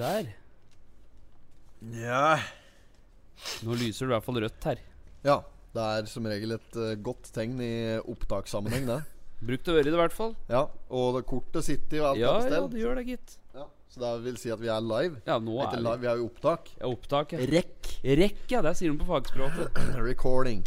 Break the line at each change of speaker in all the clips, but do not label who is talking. Der.
Ja.
Nå lyser det i hvert fall rødt her.
Ja, det er som regel et eh, godt tegn i opptakssammenheng, det.
Brukt å høre i det, i hvert fall.
Ja, Og det kortet sitter jo alt
Ja,
på
ja,
stell.
det gjør det, gitt.
Ja, så det vil si at vi er live.
Ja, nå
Ikke
er
live,
vi
vi er jo i opptak.
ja, opptak. Ja.
Rekk.
Rekk, ja. Der sier de på fagspråket.
Recording.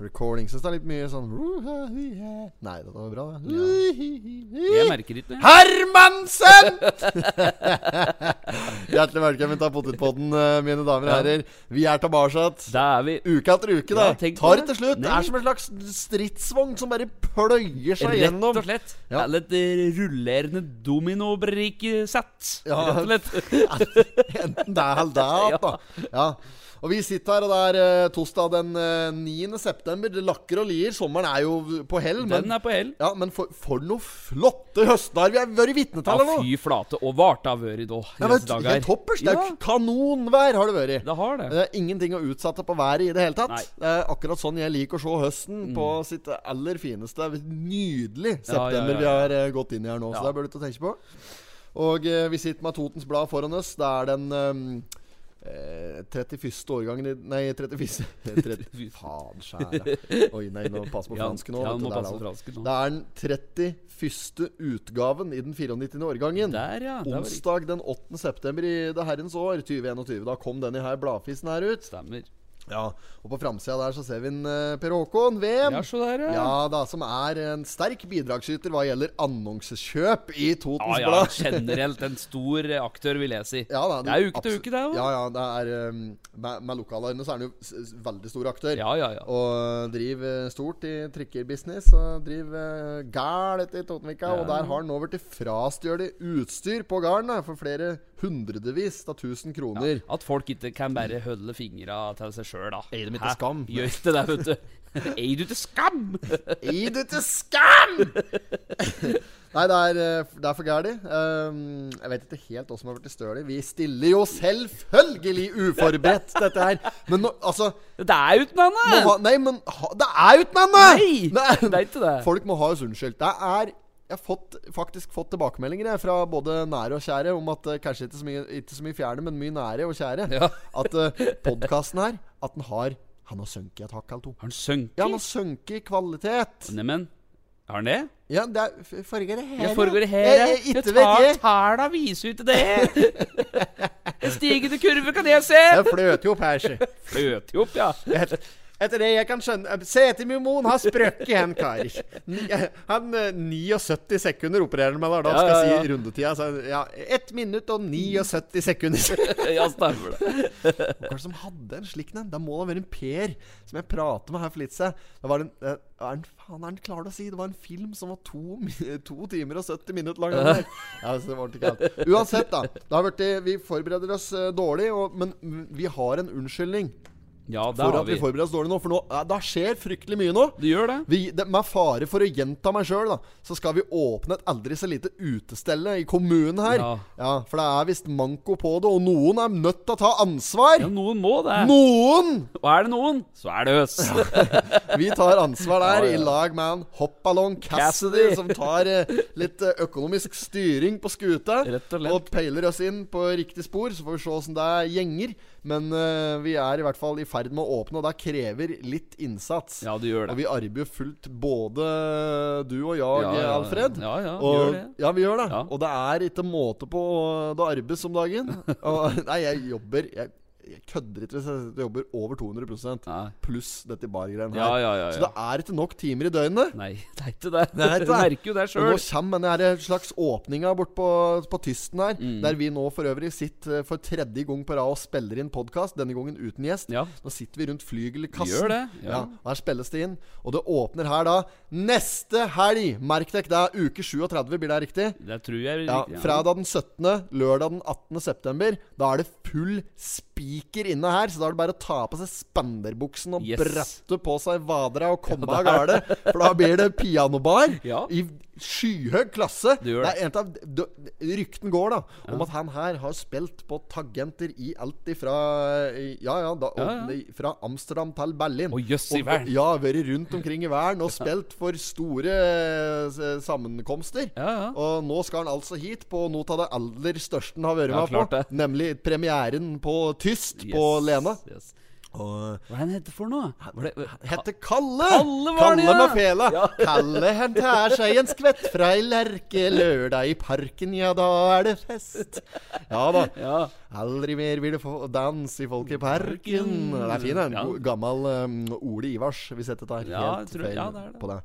Recording. Syns det er litt mye sånn Nei, dette var bra.
Jeg
det.
merker ikke det.
Hermansen! Hjertelig velkommen til Potetpodden, eh, mine damer og
Ja.
herrer. Vi er tilbake.
Da er vi
Uke etter uke, da.
Ja, tenk på
Tar
det.
ikke slutt. Det
Nei.
er som en slags stridsvogn som bare pløyer seg
rett
gjennom.
og slett
Ja.
Eller et eh, rullerende dominobrikkesett. Rett og
Ja.
slett.
Enten det eller det. Da. Ja. Og vi sitter her, og det er eh, torsdag den eh, 9. september. Det lakker og lier. Sommeren er jo på hell.
Den er på hell.
Ja, men for, for noe flotte høstdager vi har vært vitne
Ja,
til eller noe!
fy flate. Og vart det har vært da.
Ja, men helt toppers! Det er jo
Ja.
kanonvær har det vært.
Det har det.
Eh, Det er ingenting å utsette på været i det hele tatt.
Nei. Mm.
Det er akkurat sånn jeg liker å se høsten på sitt aller fineste. Det er Nydelig
Ja,
september
ja, ja,
vi
ja.
har eh, gått inn i her nå,
Ja.
så det er burde du tenke på. Og eh, vi sitter med Totens Blad foran oss. Det er den eh, eh, 31. årgangen i Nei, 34. 30, faen skjære. Oi, nei, nå pass på
Ja,
fransken nå.
ja,
vet du,
må
det er
passe
det.
fransken nå.
det er den 31. utgaven i den 94. årgangen.
Der, ja. Det var riktig.
Onsdag den 8. september i det herrens år 2021. Da kom denne her bladfisen her ut.
Stemmer.
Ja, Og på framsida der så ser vi en eh, Per Håkon VM.
Ja, så der, ja.
Ja da, som er en sterk bidragsyter hva gjelder annonsekjøp i
Ja,
Totens
ja,
Blad.
generelt en stor eh, aktør, vil jeg si.
Ja, da,
Det er uke til
absolutt-
uke, det òg.
Ja, ja, det er um, Med, med lokalene så er han jo s- s- veldig stor aktør.
Ja, ja, ja.
Og driver stort i trikkerbusiness. Og driver gælt i Totenvika.
Ja.
Og der har han nå blitt frastjålet utstyr på gården da, for flere hundredevis av tusen kroner.
At folk ikke kan bare holde fingra til seg sjøl, da.
Eier dem ikke
Hæ?
skam.
Gjør ikke det, vet du. Eier du til skam?
Gi du til skam! Nei, det er, eh, det er for gæli. Um, jeg vet ikke helt hva som har blitt stølig. Vi stiller jo selvfølgelig uforberedt, dette her. Men nå, altså
Det er uten
må
annet!
ha, Nei, men ha, det er jo ikke noe
Nei, det er ikke det.
Folk må ha oss unnskyld. Det er jeg har fått, faktisk fått tilbakemeldinger jeg, fra både nære og kjære om at eh, kanskje ikke så mye, ikke så mye fjerne, men mye nære og kjære.
Ja.
At uh, podkasten her At den har Han har sunket et hakk eller to.
Har han sunket?
Ja, han har sunket i kvalitet.
Neimen, har han det?
Ja, det er f- farger her.
Jeg foregår her,
Jeg,
jeg.
jeg,
Jeg
ikke vet
tar
jeg.
tæla viser ut det. En stigende kurve kan jeg se.
Jeg fløter jo opp her, sjø.
Fløter jo opp, ja.
Et- Etter det jeg kan skjønne Setemimoen har sprøkket, han kar. Ni- Han eh, 79 sekunder opererer han med der. Da
Ja,
skal
ja,
jeg
ja.
si rundetida. Så, ja, 1 minutt og 79 sekunder.
Ja, stemmer det.
Hva var det som hadde en slik en? Da må det være en Per som jeg prater med her for litt siden. Det var en, eh, er en Faen, er han klar til å si? Det var en film som var to, mi- to timer og 70 minutter lang. den der. Ja, så det var ikke helt. Uansett, da. Det har vært, vi forbereder oss eh, dårlig, og, men mm, vi har en unnskyldning
Ja, det
for
har
at vi
vi.
forbereder oss dårlig nå. For nå, eh, da skjer fryktelig mye nå.
Du gjør det?
Vi, det, med fare for å gjenta meg sjøl, så skal vi åpne et aldri så lite utestelle i kommunen her. Ja,
Ja.
For det er visst manko på det, og noen er nødt til å ta ansvar.
Ja, noen må det.
Noen!
Og er det noen, så er det oss.
Vi tar ansvar
Ja,
der,
ja.
i lag med en hoppballong Cassidy,
Cassidy.
som tar eh, litt eh, økonomisk styring på skuta.
Rett og
Og,
slett.
peiler oss inn på riktig spor, så får vi se åssen det gjenger. Men eh, vi er i hvert fall i ferd med å åpne, og det krever litt innsats.
Ja, du gjør
Og
det.
vi arbeider jo fullt, både du og jeg,
Ja, ja, ja.
Alfred.
Ja, ja,
og,
gjør det.
Ja, vi gjør det.
Ja.
Og det er ikke måte på det arbeides om dagen. Og, nei, jeg jobber Jeg, jeg kødder ikke hvis jeg sier at jeg jobber over 200
Nei.
pluss dette bargreiene
Ja,
her.
ja, ja.
Så
ja.
det er ikke nok timer i døgnet.
Nei, det er ikke det.
Det er ikke
Du
det.
merker jo det
Og nå
sjøl.
kommer denne her slags åpninga bort på, på Tysten her,
Mm.
der vi nå for øvrig sitter eh, for tredje gang på rad og spiller inn podkast, denne gangen uten gjest.
Ja.
Nå sitter vi rundt flygelkassen.
Gjør det,
Ja.
ja.
og Her spilles det inn. Og det åpner her da neste helg! Merk dere det, er uke 37, blir det riktig?
Det tror jeg er
Ja,
riktig.
Fredag den 17., lørdag den 18. september. Da er det full spiker inne her, så da er det bare å ta på seg spanderbuksen og
Yes.
brette på seg vadera og komme av gårde. For da blir det pianobar
Ja.
i skyhøy klasse.
Du gjør
det er en av d- Rykten går, da, om at han her har spilt på tagenter i alt ifra Ja, ja, da, og,
Ja, ja.
nei, fra Amsterdam til Berlin.
Å, jøss i
Og-
verden.
Ja, vært rundt omkring i verden og spilt for store eh, sammenkomster.
Ja, ja.
Og nå skal han altså hit på noe av det aller største han har vært
Ja,
med på.
klart det.
Nemlig premieren på Tyst på
Yes,
Lena.
yes.
Og
Hva er det han heter for noe? Var det,
Hette Kalle!
Kalle var det, ja!
med fela.
Ja.
Kalle han tar seg en skvett fra ei lerke lørdag i parken, ja da er det fest. Ja da.
ja.
Aldri mer vil du få danse i folk i parken. Det er fin, den.
Ja.
God- Gammel um, Ole Ivars, hvis jeg tar
Ja,
helt
jeg tror-
feil
ja, det er det.
på det.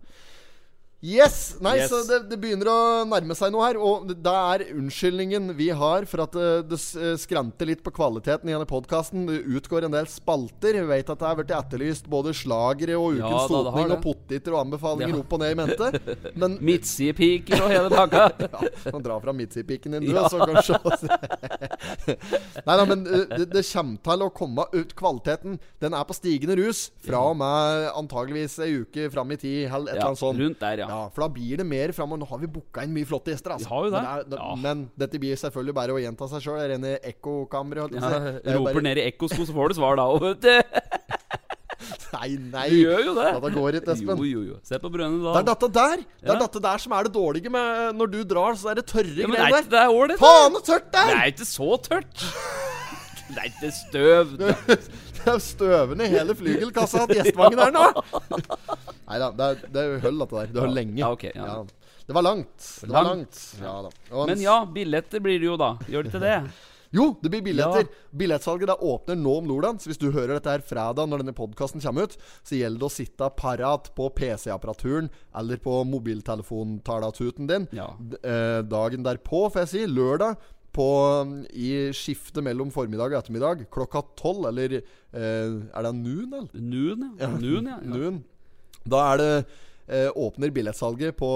Yes! Nei,
Yes.
så det, det begynner å nærme seg noe her. Og det er unnskyldningen vi har for at det, det s- eh, skranter litt på kvaliteten i denne podkasten. Det utgår en del spalter. Vi vet at det har blitt etterlyst både slagere og
Ja,
Ukens
da, det har
Sotning
det.
og potteter og anbefalinger
Ja.
opp og ned i mente. Men
Midtsidepiker og hele pakka.
ja, kan dra fram midtsidepiken din, du, og så kan du se. Nei da, men uh, det, det kommer til å komme ut. Kvaliteten den er på stigende rus fra og med antageligvis ei uke fram i tid, eller
Ja,
et eller annet sånt.
rundt der, ja.
For da blir det mer fram. Og nå har vi booka inn mye flotte gjester, altså.
Vi har jo det.
Men, er,
Ja.
men dette blir selvfølgelig bare å gjenta seg sjøl. Rene ekkokamre, holdt jeg
Ja,
på å si. Det er jo
roper
bare-
ned i ekkosko, så får du svar da. og vet du.
Nei, nei.
Du gjør jo det.
Dette går ikke, Espen.
Jo, jo, jo. Se på brønnen
Det
da.
er dette der Det er
Ja.
dette der som er det dårlige med Når du drar, så er det tørre
ja, men er
greier
ikke
der.
det ålreit? da?
Faen, så tørt det er!
Det er ikke så tørt. Det er ikke støv. da.
Det er støvende i hele flygelkassa at gjestevangen er nå! Nei da, det, er- det er jo høll, dette der. Det høll lenge.
Ja, ok, ja.
Det var langt. Det var langt. Ja, da. Og
Men
en-
ja, billetter blir det jo da. Gjør det ikke det?
Jo, det blir billetter.
Ja.
Billettsalget det åpner nå om lørdagen. Så hvis du hører dette her fredag, når denne podkasten kommer ut, så gjelder det å sitte parat på PC-apparaturen eller på mobiltelefontalatuten din
Ja.
d- eh, dagen derpå, får jeg si. Lørdag. På, mm, I skiftet mellom formiddag og ettermiddag klokka tolv, eller eh, er det noon, eller?
Noon, ja. Noon, ja. ja.
Noon. Da er det eh, åpner billettsalget på,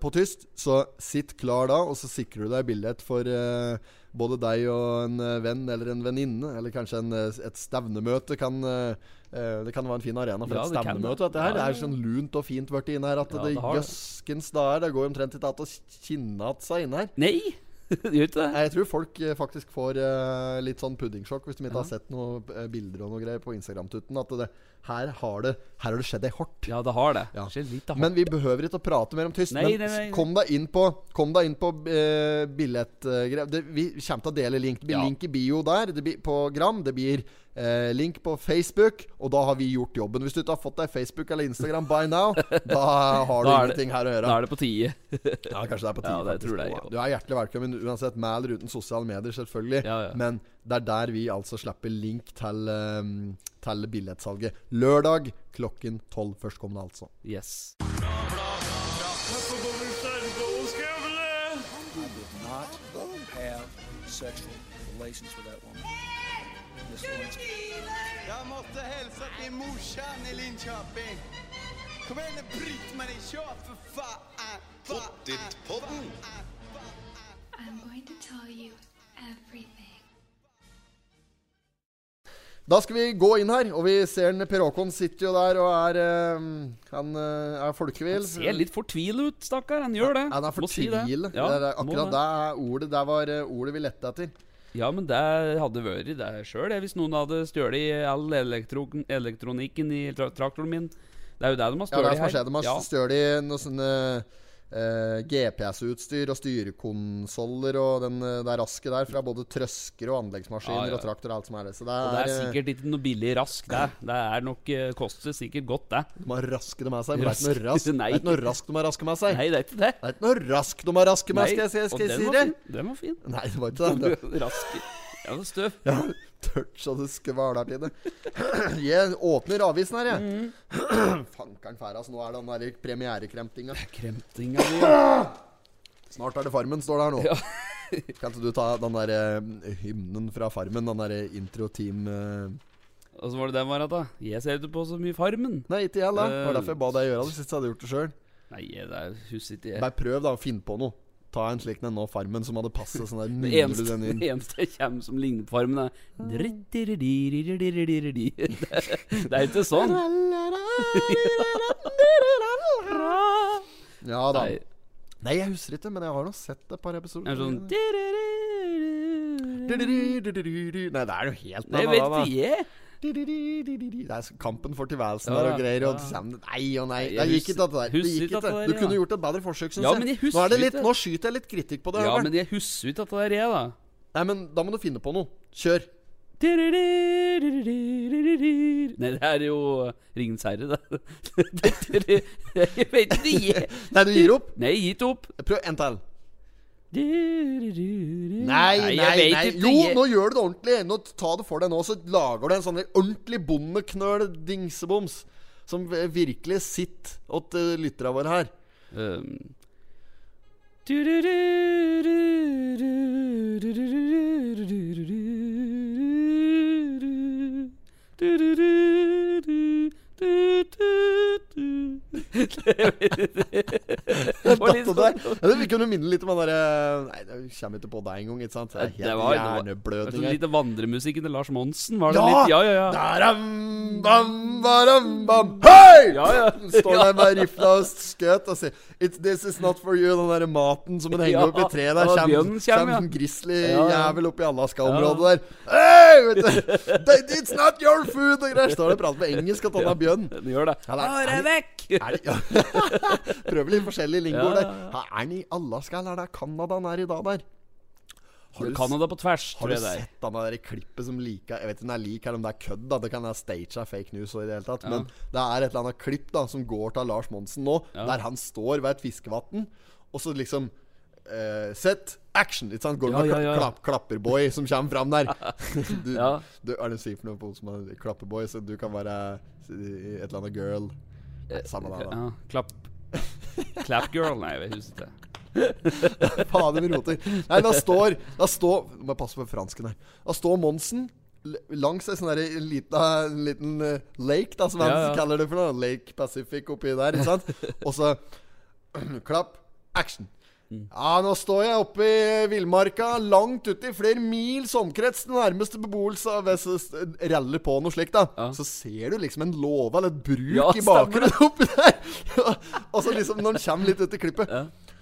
på tyst, så sitt klar da, og så sikrer du deg billett for eh, både deg og en eh, venn eller en venninne, eller kanskje en, eh, et stevnemøte kan eh, eh, det kan være en fin arena for
Ja,
et
det kan
stevnemøte.
det.
Dette her.
Ja, ja,
Det er sånn lunt og fint blitt inne her at
Ja,
det,
det har det.
jøskens dager. Det går omtrent ikke an å kinne igjen seg inne her.
Nei, det gjør ikke det.
Jeg tror folk eh, faktisk får eh, litt sånn puddingsjokk hvis de ikke
Ja.
har sett noen eh, bilder og noe greier på Instagram-tutten. At det, her, har det, her har det skjedd ei hort.
Ja, det har det.
Ja.
Det skjer litt av
Men vi behøver ikke å prate mer om tyst.
Nei,
men
nei, nei, nei.
kom deg inn på Kom deg inn på eh, billettgreier. Det- vi kommer til å dele link. Det blir
Ja.
link i bio der, det blir på Gram. Det blir eh, link på Facebook, og da har vi gjort jobben. Hvis du ikke har fått deg Facebook eller Instagram by now, da har du
Da er det-
ingenting her å gjøre.
Da er det på tide.
Ja, kanskje det er på tide.
Ja, det
faktisk.
tror jeg, ja.
Du er hjertelig velkommen uansett med eller uten sosiale medier, selvfølgelig.
Ja, ja.
Men det er der vi altså slipper link til, um, til billettsalget. Lørdag klokken tolv førstkommende, altså.
Yes.
not have sexual relations with that woman. Miss Lewinsky.
Jeg måtte hilse til morsan i Linköping. Kom igjen, Britt-Marie, kjør, for faen! Pottit-podden.
I'm going to tell you everything.
Da skal vi gå inn her, og vi ser en Per Håkon sitter jo der og er um, Han uh, er folkevill.
Ser litt fortvilet ut, stakkar. Han gjør det.
Han er
Må si det.
fortvilet.
Ja,
det er
må
akkurat det er ordet der var uh, ordet vi lette etter.
Ja, men det hadde vært det sjøl hvis noen hadde stjålet all elektro elektronikken i tra traktoren min. Det er jo det de har
Ja, det er det
stjålet
som har skjedd. De har
Ja.
stjålet noe sånne eh, GPS-utstyr og styrekonsoller og den, eh, det rasket der fra både trøsker og anleggsmaskiner
Ja, ja.
og traktor og alt som er det. Så det
Og
er,
det er
eh,
sikkert ikke noe billig rask, det. Det er nok eh, koster sikkert godt, det.
De har raske det med seg. men Det er ikke noe
Rask.
rask, det
Nei.
er ikke noe rask de har raske med seg.
Nei, det er ikke det.
Det er ikke noe rask de har raske med seg, skal jeg, skal jeg,
og den
skal jeg si
Var fin. Den var fin.
det? Nei, det var ikke det. det.
Rask. Ja, det er støv.
Ja, Tørt så det skvaler til det. Jeg åpner avisen her, jeg. Fankeren færa, så nå er det den der premierekremtinga.
Kremtinga di. ja.
Snart er det Farmen, står det her nå. kan ikke du ta den der eh, hymnen fra Farmen? Den der intro-team eh,
Og så var det den var at da. Jeg ser ikke på så mye Farmen.
Nei, ikke jeg, da. Det var
Eh,
derfor jeg ba deg gjøre det, sist jeg hadde gjort det sjøl.
Nei, det er husker ikke jeg.
Bare prøv, da. Finn på noe. Ta en slik en nå, Farmen, som hadde passet sånn der.
Det
nynner du
eneste,
den inn.
det eneste jeg kommer som ligner på Farmen, er Drittiririririririri. Det det er ikke sånn.
Ja da.
Nei,
Nei, jeg husker ikke, men jeg har nå sett et par episoder.
En sånn
Du, du,
Nei,
du, du, du, du, du. Nei, det er jo helt en
vet
annen, da.
ikke jeg.
Du, du, du, du, du, du. Det er kampen for tilværelsen
Ja,
der og greier. Og
ja.
sammen. Nei og nei.
Nei,
Det
jeg
gikk
husker-
ikke, dette der. Det
husker
gikk
ikke
ikke.
dette
Du
der, ja.
kunne gjort et bedre forsøk, syns
Ja, men jeg
jeg. Nå, er det
husker
litt,
ikke.
nå skyter jeg litt kritikk på det.
Ja,
Albert.
men jeg husker jo ikke at det er jeg, da.
Nei, men da må du finne på noe. Kjør.
Nei, det er jo Ringens herre, det. Jeg vet ikke, jeg.
Nei, du gir opp.
Nei, gitt opp.
Prøv en til.
Nei,
Nei, nei, nei.
jeg vet ikke.
Jo,
jeg-
nå gjør du det ordentlig. Nå Ta det for deg nå, så lager du en sånn ordentlig bondeknøl-dingseboms. Som virkelig sitter åt eh, lytterne våre her.
Um. Det var litt
Dette der.
sånn-
Ja, det kunne minne litt om han derre Nei, det kommer ikke på deg engang, ikke sant? Det er
Det
helt
var- det var-
hjerneblødning.
Sånn
her.
lite vandremusikken til Lars Monsen, var det
Ja!
litt? Ja, ja, ja.
Daram, bam, baram, bam. Hei!
Ja, ja.
Står der med rifla og skøt og sier It's, This is not for you. Den der maten som en henger
Ja,
opp i treet der.
ja,
Kjem,
bjørnen
kjem,
kjem, ja.
en grizzly
Ja, ja.
jævel opp i Alaska-området der. Hey, vet du. They- It's not your food! Og greier. Står der og prater på engelsk at han er bjørn.
Den gjør det.
Ja, det er-
Bare
er det-
vekk!
Er det, ja. Prøver litt forskjellige
Ja,
lingoer der.
ja, ja.
Ha, Er han i Alaska, eller er det Canada han er i dag der? Har du,
Canada på tvers,
har
tror
du
jeg det er.
sett han der klippet som liker Jeg vet ikke om det er lik eller om det er kødd, da. Det kan være staged av fake news og i det hele tatt. Men det er et eller annet klipp da som går til Lars Monsen nå, der han står ved et fiskevann, og så liksom eh, Sett action! Ikke sant? Går
Ja,
med
ja,
kla-
ja.
Klapp, klapperboy som kommer fram der. du,
Ja.
du, er det å si for noe på som er klapperboy, så du kan være eh, et eller annet girl? Nei, Samme det, da.
Ja, klapp. Clap girl, nei, jeg husker ikke.
Fader, vi roter. Nei, da står Da står Nå må jeg passe på fransken her. Da står Monsen l- langs en sånn derre lita, liten eh, lake, da, som han
Ja, ja.
kaller det for noe. Lake Pacific oppi der, ikke sant? Og så klapp, action.
Mm.
Ja, nå står jeg oppe i villmarka, langt ute i flere mils omkrets til nærmeste beboelse av Hvis jeg raller på noe slikt, da,
Ja.
så ser du liksom en låve eller et bruk
Ja,
i
stemmer
bakgrunnen oppi der. og så liksom, når den kommer litt ut i klippet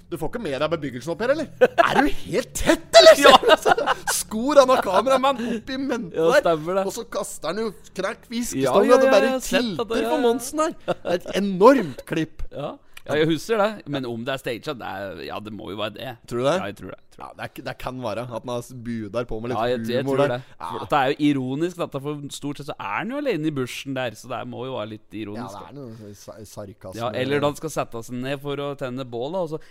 Du får ikke med deg bebyggelsen opp her, eller? Er du helt tett, eller?! Så Skor han av kameramann opp i mente
Ja,
der.
stemmer det.
Og så kaster han jo knekk
Ja,
fiskestangen,
ja,
og det
ja, jeg
bare
har sett at det-
tilter
ja,
for
ja.
Monsen her. Det er et enormt klipp.
Ja. ja, jeg husker det. Men om det er staged, det er, ja, det må jo være det.
Tror du det?
Ja, jeg tror det. Jeg tror det.
Ja, det, er, ikke- det kan være at han har budar på med litt
Ja, jeg, jeg
humor
tror
der.
det. For det er jo ironisk, dette, for stort sett så er han jo alene i bushen der, så det må jo være litt
Ja,
ironisk.
det er
da.
noe sa- sarkasme.
Ja, eller da han skal sette seg ned for å tenne bål, da, og så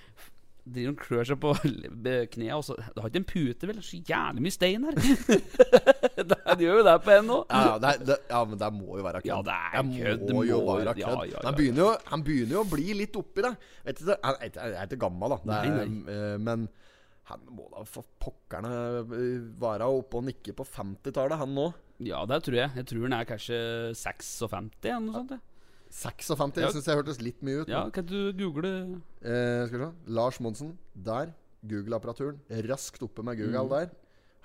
driver han og klør seg på knærne, og så Du har ikke en pute, vel? Det er Så jævlig mye stein her. Det- Han gjør jo det på en nå.
ja, ja, det, er- det, ja, men det må jo være kødd.
Ja, det er kødd,
Det må
det
jo
må-
være kødd.
ja, ja, ja,
Han,
ja.
begynner jo, han begynner jo å bli litt oppi det. Vet du, han er ikke- han er ikke gammel, da. Det er,
Nei, nei.
eh, Men han må da for pokkerne eh, være oppe og nikke på 50-tallet, han nå.
Ja, det tror jeg. Jeg tror han er kanskje 56 eller noe sånt. jeg.
56
Ja.
jeg synes jeg hørtes litt mye ut.
Ja, kan du google
Eh, skal vi se. Lars Monsen, der. Google-apparaturen. Raskt oppe med Google
Mm.
der.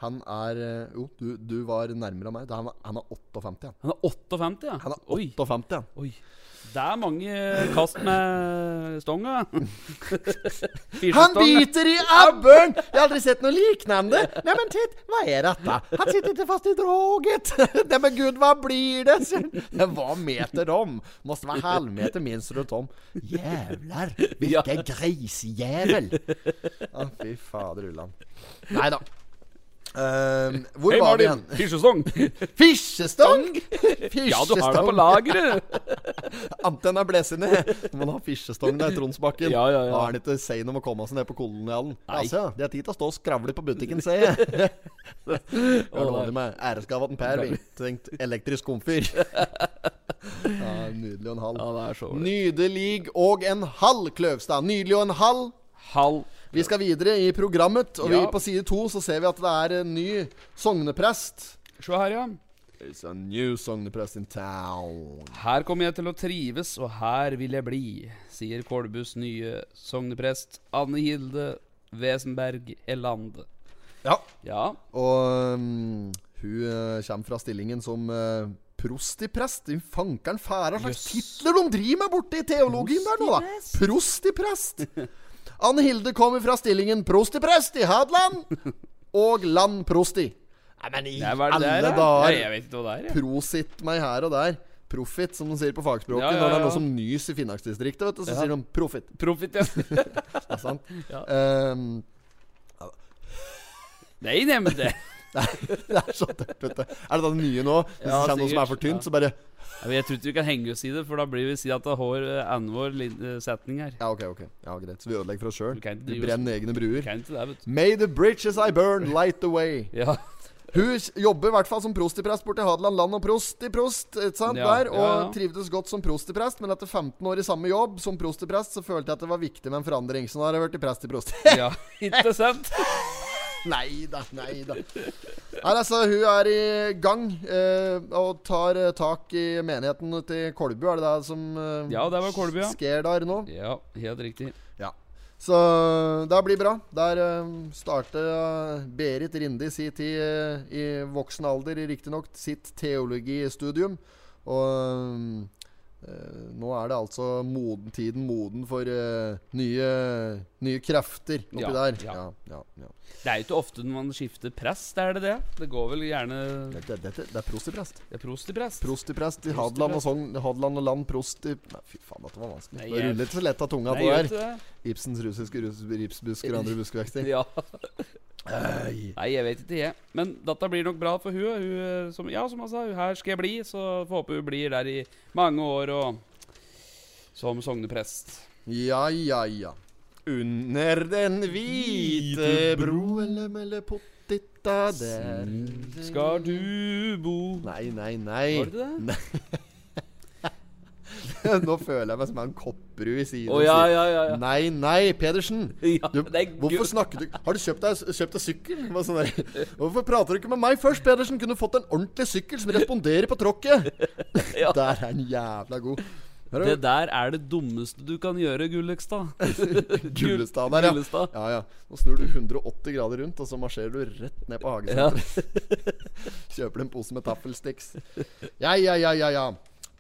Han er eh, Jo, du, du var nærmere meg. Da Han er, han er 58, han.
Han er 58, ja?
Han er
Oi.
58, han.
Oi. Det er mange kast med stonga.
Han
sånn.
biter i abboren! Jeg har aldri sett noe liknende. Neimen, titt, hva er dette? Han sitter ikke fast i draget. Neimen, gud, hva blir det? sier han. Det var meter om. Måste være halvmeter minst rundt om. Jævlar, hvilken grisejævel. Å, fy fader ullan. Nei da. Ehm, hvor
Hei,
var vi
Martin.
hen?
Fisjestong.
Fiskestang!
Ja, du har det på lageret.
Anten er blesende. Når man har fiskestong der i Tronsbakken,
Ja, ja, ja.
da er det ikke sein om å komme seg ned på kolonialen.
Nei.
Altså, de har tid til å stå og skravle på butikken, ser jeg. Jeg har lånt meg æresgaven Per Vingtenkt elektrisk komfyr. Ja, nydelig og en halv.
Ja, det er så ålreit.
Nydelig og en halv, Kløvstad. Nydelig og en halv.
Halv.
Vi skal videre i programmet, og vi
Ja.
på side to så ser vi at det er en ny sogneprest.
Se her, ja.
It's a new sogneprest in town.
Her kommer jeg til å trives, og her vil jeg bli, sier Kolbus nye sogneprest Anne Hilde Wesenberg Elande.
Ja,
Ja.
Og mm, hun eh, kommer fra stillingen som eh, prostiprest. Din fankeren færa slags
Jøss.
titler de driver med borte i teologien der nå, da! Prostiprest! Anne Hilde kommer fra stillingen prostiprest i Hadeland og landprosti. Nei, men i
Nei, hva er det
alle
der, da?
dager!
Nei, jeg vet ikke hva det er. Jeg.
Prosit meg her og der. Profit, som de sier på fagspråket.
Ja, ja,
Når det er
ja.
noe som nys i Finnmarksdistriktet, vet du, så
Ja.
sier de profit.
Profit, ja.
Det er sant.
Ja.
Ehm,
Nei, nei, men det
det er så tørt, vet du. Er det da det nye nå? Hvis
Ja,
det kommer noe som er for
sikkert. Ja.
tynt, så bare
Ja, men Jeg tror ikke vi kan henge oss i det, for da blir vi si at det eh, har annenhver setning her.
Ja, ok, ok. Ja, greit. Så vi ødelegger for oss sjøl.
Du kan ikke
Vi
drive oss-
brenner egne
Vi
bruer.
kan ikke det, vet du.
May the bridges I burn light the way.
Ja,
Hun s- jobber i hvert fall som prostiprest borti Hadeland land og prost i prost. Ikke sant,
Ja,
der,
ja,
og
ja.
trivdes godt som prostiprest, men etter 15 år i samme jobb som prostiprest, så følte jeg at det var viktig med en forandring. Så nå har jeg blitt prest i prost.
ja. ikke sant?
nei da, nei da. Nei, altså, hun er i gang eh, og tar eh, tak i menigheten ute i Kolbu. Er det det som eh,
Ja, det var Kolbu, ja.
sker der nå?
Ja, helt riktig.
Ja. Så det blir bra. Der uh, starta Berit Rinde i sin tid, eh, i voksen alder riktignok, sitt teologistudium. Og mm, eh, nå er det altså moden, tiden moden for eh, nye, nye krefter oppi
Ja,
der.
ja.
Ja, ja, ja.
Det er jo ikke ofte når man skifter prest, er det det? Det går vel gjerne
Dette, dette, det er prostiprest.
Det er prost i prest?
Prostiprest i Hadeland og Sogn. Hadeland og land, prost i Nei, fy faen, dette var vanskelig.
Nei,
Det
jeg-
ruller ikke så lett av tunga
Nei,
på
gjør
her.
ikke det?
Ibsens russiske rus, ripsbusker og andre buskvekster.
Ja. Nei, jeg vet ikke, jeg. Men dette blir nok bra for hun. hun eh, som, ja, som han sa, hun her skal jeg bli. Så får håpe hun blir der i mange år og som sogneprest.
Ja, ja, ja. Under den hvite bro eller melle pottita der
Skal du bo
Nei, nei, nei.
Var det det?
Nå føler jeg meg som en kopperud i siden.
Å ja, ja, ja. ja.
Nei, nei, Pedersen.
Ja,
Du,
det er
hvorfor
gud.
snakker du Har du kjøpt deg, kjøpt deg sykkel? Det var Sånn der. Hvorfor prater du ikke med meg først, Pedersen? Kunne du fått en ordentlig sykkel som responderer på tråkket?
Ja.
Der er en jævla god. Her
Det
er
der er det dummeste du kan gjøre, Gullekstad.
Gullestad der, ja.
Gullestad.
Ja, ja. Nå snur du 180 grader rundt, og så marsjerer du rett ned på hagesenteret. Kjøper du en pose med taffelsticks. Ja, ja, ja, ja, ja.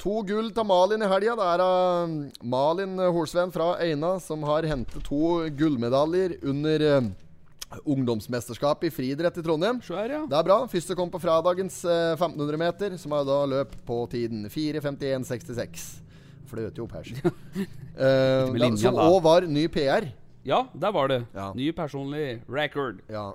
To gull til Malin i helga. Det er av Malin Holsven fra Eina som har hentet to gullmedaljer under eh, ungdomsmesterskapet i friidrett i Trondheim.
Så her, ja.
Det er bra. Første kom på fradagens eh, 1500 meter, som er da løp på tiden 4.51,66. Fløt jo opp her, så. Eh,
med
da-
linja,
som
da.
òg var ny PR.
Ja, der var det.
Ja.
Ny personlig record.
Ja.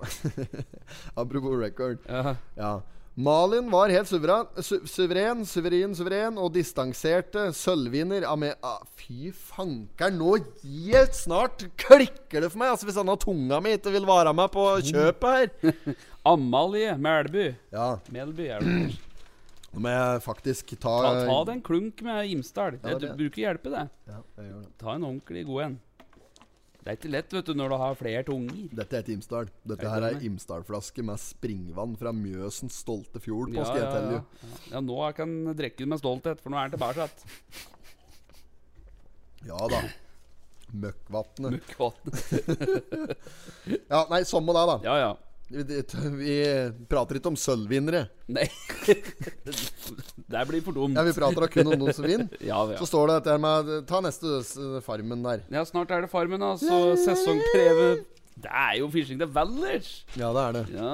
Apropos record.
Ja.
Ja. Malin var helt suveren, su suveren, suveren, suveren og distanserte sølvvinner av med ah, Fy fankeren, nå helt snart klikker det for meg! Altså Hvis denne tunga mi ikke vil være med på kjøpet her.
Amalie Melby.
Ja,
Melby er det.
nå må jeg faktisk ta
Ta, ta deg en klunk med Imsdal.
Ja,
Det
det-
du- bruker hjelpe, det.
Ja, jeg gjør det.
Ta en ordentlig god en. Det er ikke lett vet du, når du har flere tunger.
Dette er et Imsdal. Dette
Er
her
det
er
det?
Imsdal-flaske med springvann fra Mjøsens stolte fjord. På,
Ja,
skal jeg
ja,
telle
ja.
you.
Ja. ja, nå jeg kan jeg drikke den med stolthet, for nå er den tilbake igjen.
ja da. Møkkvatnet.
Møkkvatn.
Ja, nei, samme det, da.
Ja, ja.
Vi, vi prater ikke om sølvvinnere.
Nei. det blir for dumt.
Ja, Vi prater da kun om noen som vinner.
Ja, ja.
Så står det dette her med Ta neste s- Farmen der.
ja, snart er det Farmen, da. Så sesongpreve Det er jo Fishing the Vallers!
Ja, det er det.
Ja.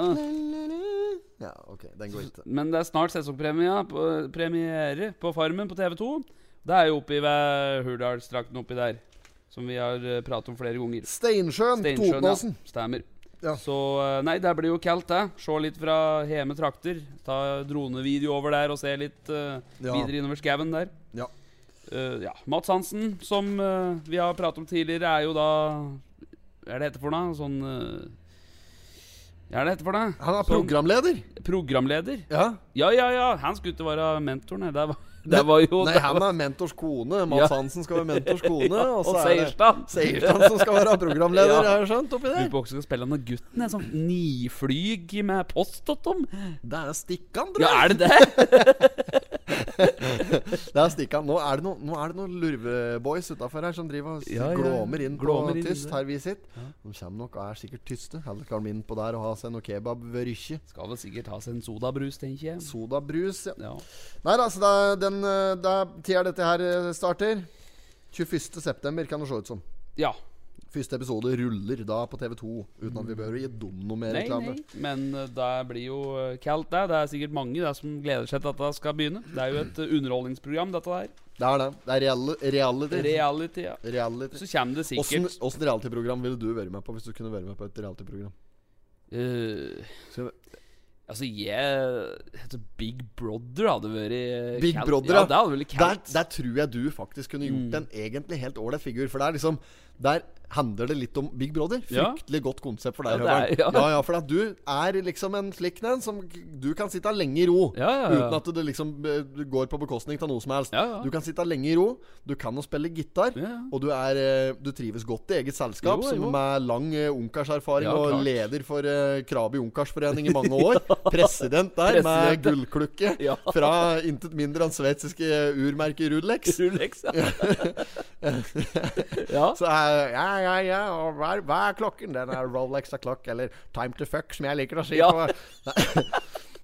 Ja, ok, den går ikke.
Men det er snart sesongpremie på- premiere på Farmen på TV2. Det er jo oppi ved Hurdalsdrakten oppi der, som vi har eh, pratet om flere ganger.
Steinsjøen,
Steinsjøen,
Totenåsen.
ja. Stemmer.
Ja.
Så eh, Nei, det blir jo kaldt, det. Se litt fra hjemme trakter. Ta dronevideo over der og se litt eh,
Ja.
videre innover skauen der.
Ja.
Eh, ja. Mats Hansen, som eh, vi har pratet om tidligere, er jo da Hva er det hette for noe? Sånn eh, Hva er det hette for noe?
Han er
Sånn
programleder.
programleder.
Ja.
Ja, ja, ja. Han skulle ikke være mentoren. nei. Det var, det var jo
Nei,
det
han
var-
er mentors kone. Mads
Ja.
Hansen skal være mentors kone.
Ja,
og
og
så er det
Seierstad.
Seierstad som skal være programleder,
Ja.
har jeg skjønt. oppi
Lurer
der
på hvordan skal spille han og gutten. En sånn niflyg med post og tom.
Det er Stikkan, tror
Ja,
jeg.
er det det?
Det er Stikkan. Nå er det noen nå er det noen lurveboys utafor her som driver og s-
Ja, ja, ja.
glåmer inn
Glåmer
på
inn i
tyst
det.
her vi sitter. De kommer nok og er sikkert tyste. Heller kan de inn på der og ha seg noe kebab ved Rykkje.
Skal vel sikkert ha seg en sodabrus, tenker jeg.
Sodabrus, ja.
Ja.
Nei da, så det er den eh, det er tida dette her eh, starter. 21. september kan det se ut som.
ja.
Første episode ruller da på TV2, uten at vi behøver å gi dem noe mer
Nei,
reklame.
nei, men eh, det blir jo eh, kaldt der. Det er sikkert mange der som gleder seg til at dette skal begynne. Det er jo et eh, underholdningsprogram, dette her.
Det er det. Det er reali reality.
Reality, ja.
reality.
Så kommer det
Åssen
sikkert
åssen realityprogram ville du vært med på hvis du kunne vært med på et realityprogram?
eh,
Skal vi-
Altså, jeg altså, Big Brother hadde vært eh,
Big
kaldt.
Brother,
ja.
ja.
Det hadde vært
Der,
kaldt.
der tror jeg du faktisk kunne gjort
Mm.
en egentlig helt ålreit figur. For det er liksom Der handler det litt om Big Brother.
Ja.
Fryktelig godt konsept for deg,
Ja,
Høveren.
det er-
Ja.
ja.
ja, for at du er liksom en slik en som Du kan sitte lenge i ro.
Ja, ja, ja.
Uten at det liksom eh, går på bekostning av noe som helst.
Ja, ja.
Du kan sitte lenge i ro, du kan å spille gitar,
Ja, ja.
og du, er, eh, du trives godt i eget selskap,
Jo, jo.
som med lang eh, ungkarserfaring
Ja,
og
klart.
leder for eh, Krabi ungkarsforening i mange år. President der, med
President, ja.
gullklukke
Ja.
fra intet mindre enn sveitsiske urmerket Rudlex.
Rolex, ja. ja.
Så eh, ja, ja, ja, og hva er, hva er klokken? Den er Rolex er klokk, eller Time to fuck, som jeg liker å si
Ja.
på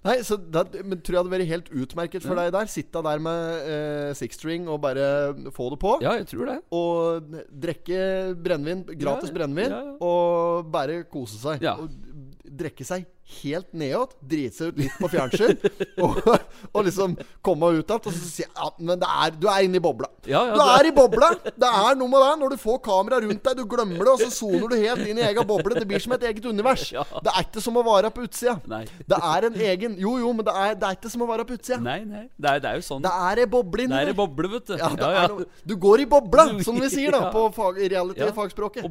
Nei. Nei, så det, men tror jeg hadde vært helt utmerket for deg der. Sitte der med eh, sixstring og bare få det på.
ja, jeg tror det.
Og n- drikke brennevin, gratis
Ja,
brennevin,
ja, ja.
og bare kose seg.
Ja.
Og d- drikke seg helt nedåt, drite seg ut litt på fjernsyn, og, og liksom komme ut igjen. Og så si ja, men det er, du er inne i bobla.
Ja, ja,
du
det-
er i bobla! Det er noe med det. Når du får kamera rundt deg, du glemmer det, og så soner du helt inn i egen boble. Det blir som et eget univers.
Ja.
Det er ikke som å være på utsida.
Nei.
Det er en egen Jo, jo, men det er, det er ikke som å være på utsida.
Nei, nei. Det er, det er jo sånn.
Det er ei boble inni
Det er
der.
ei boble, vet du.
Ja, det
Ja, ja.
Er noe, du går i bobla,
Du-
som vi sier da
ja.
på fag, reality
Ja.
fagspråket.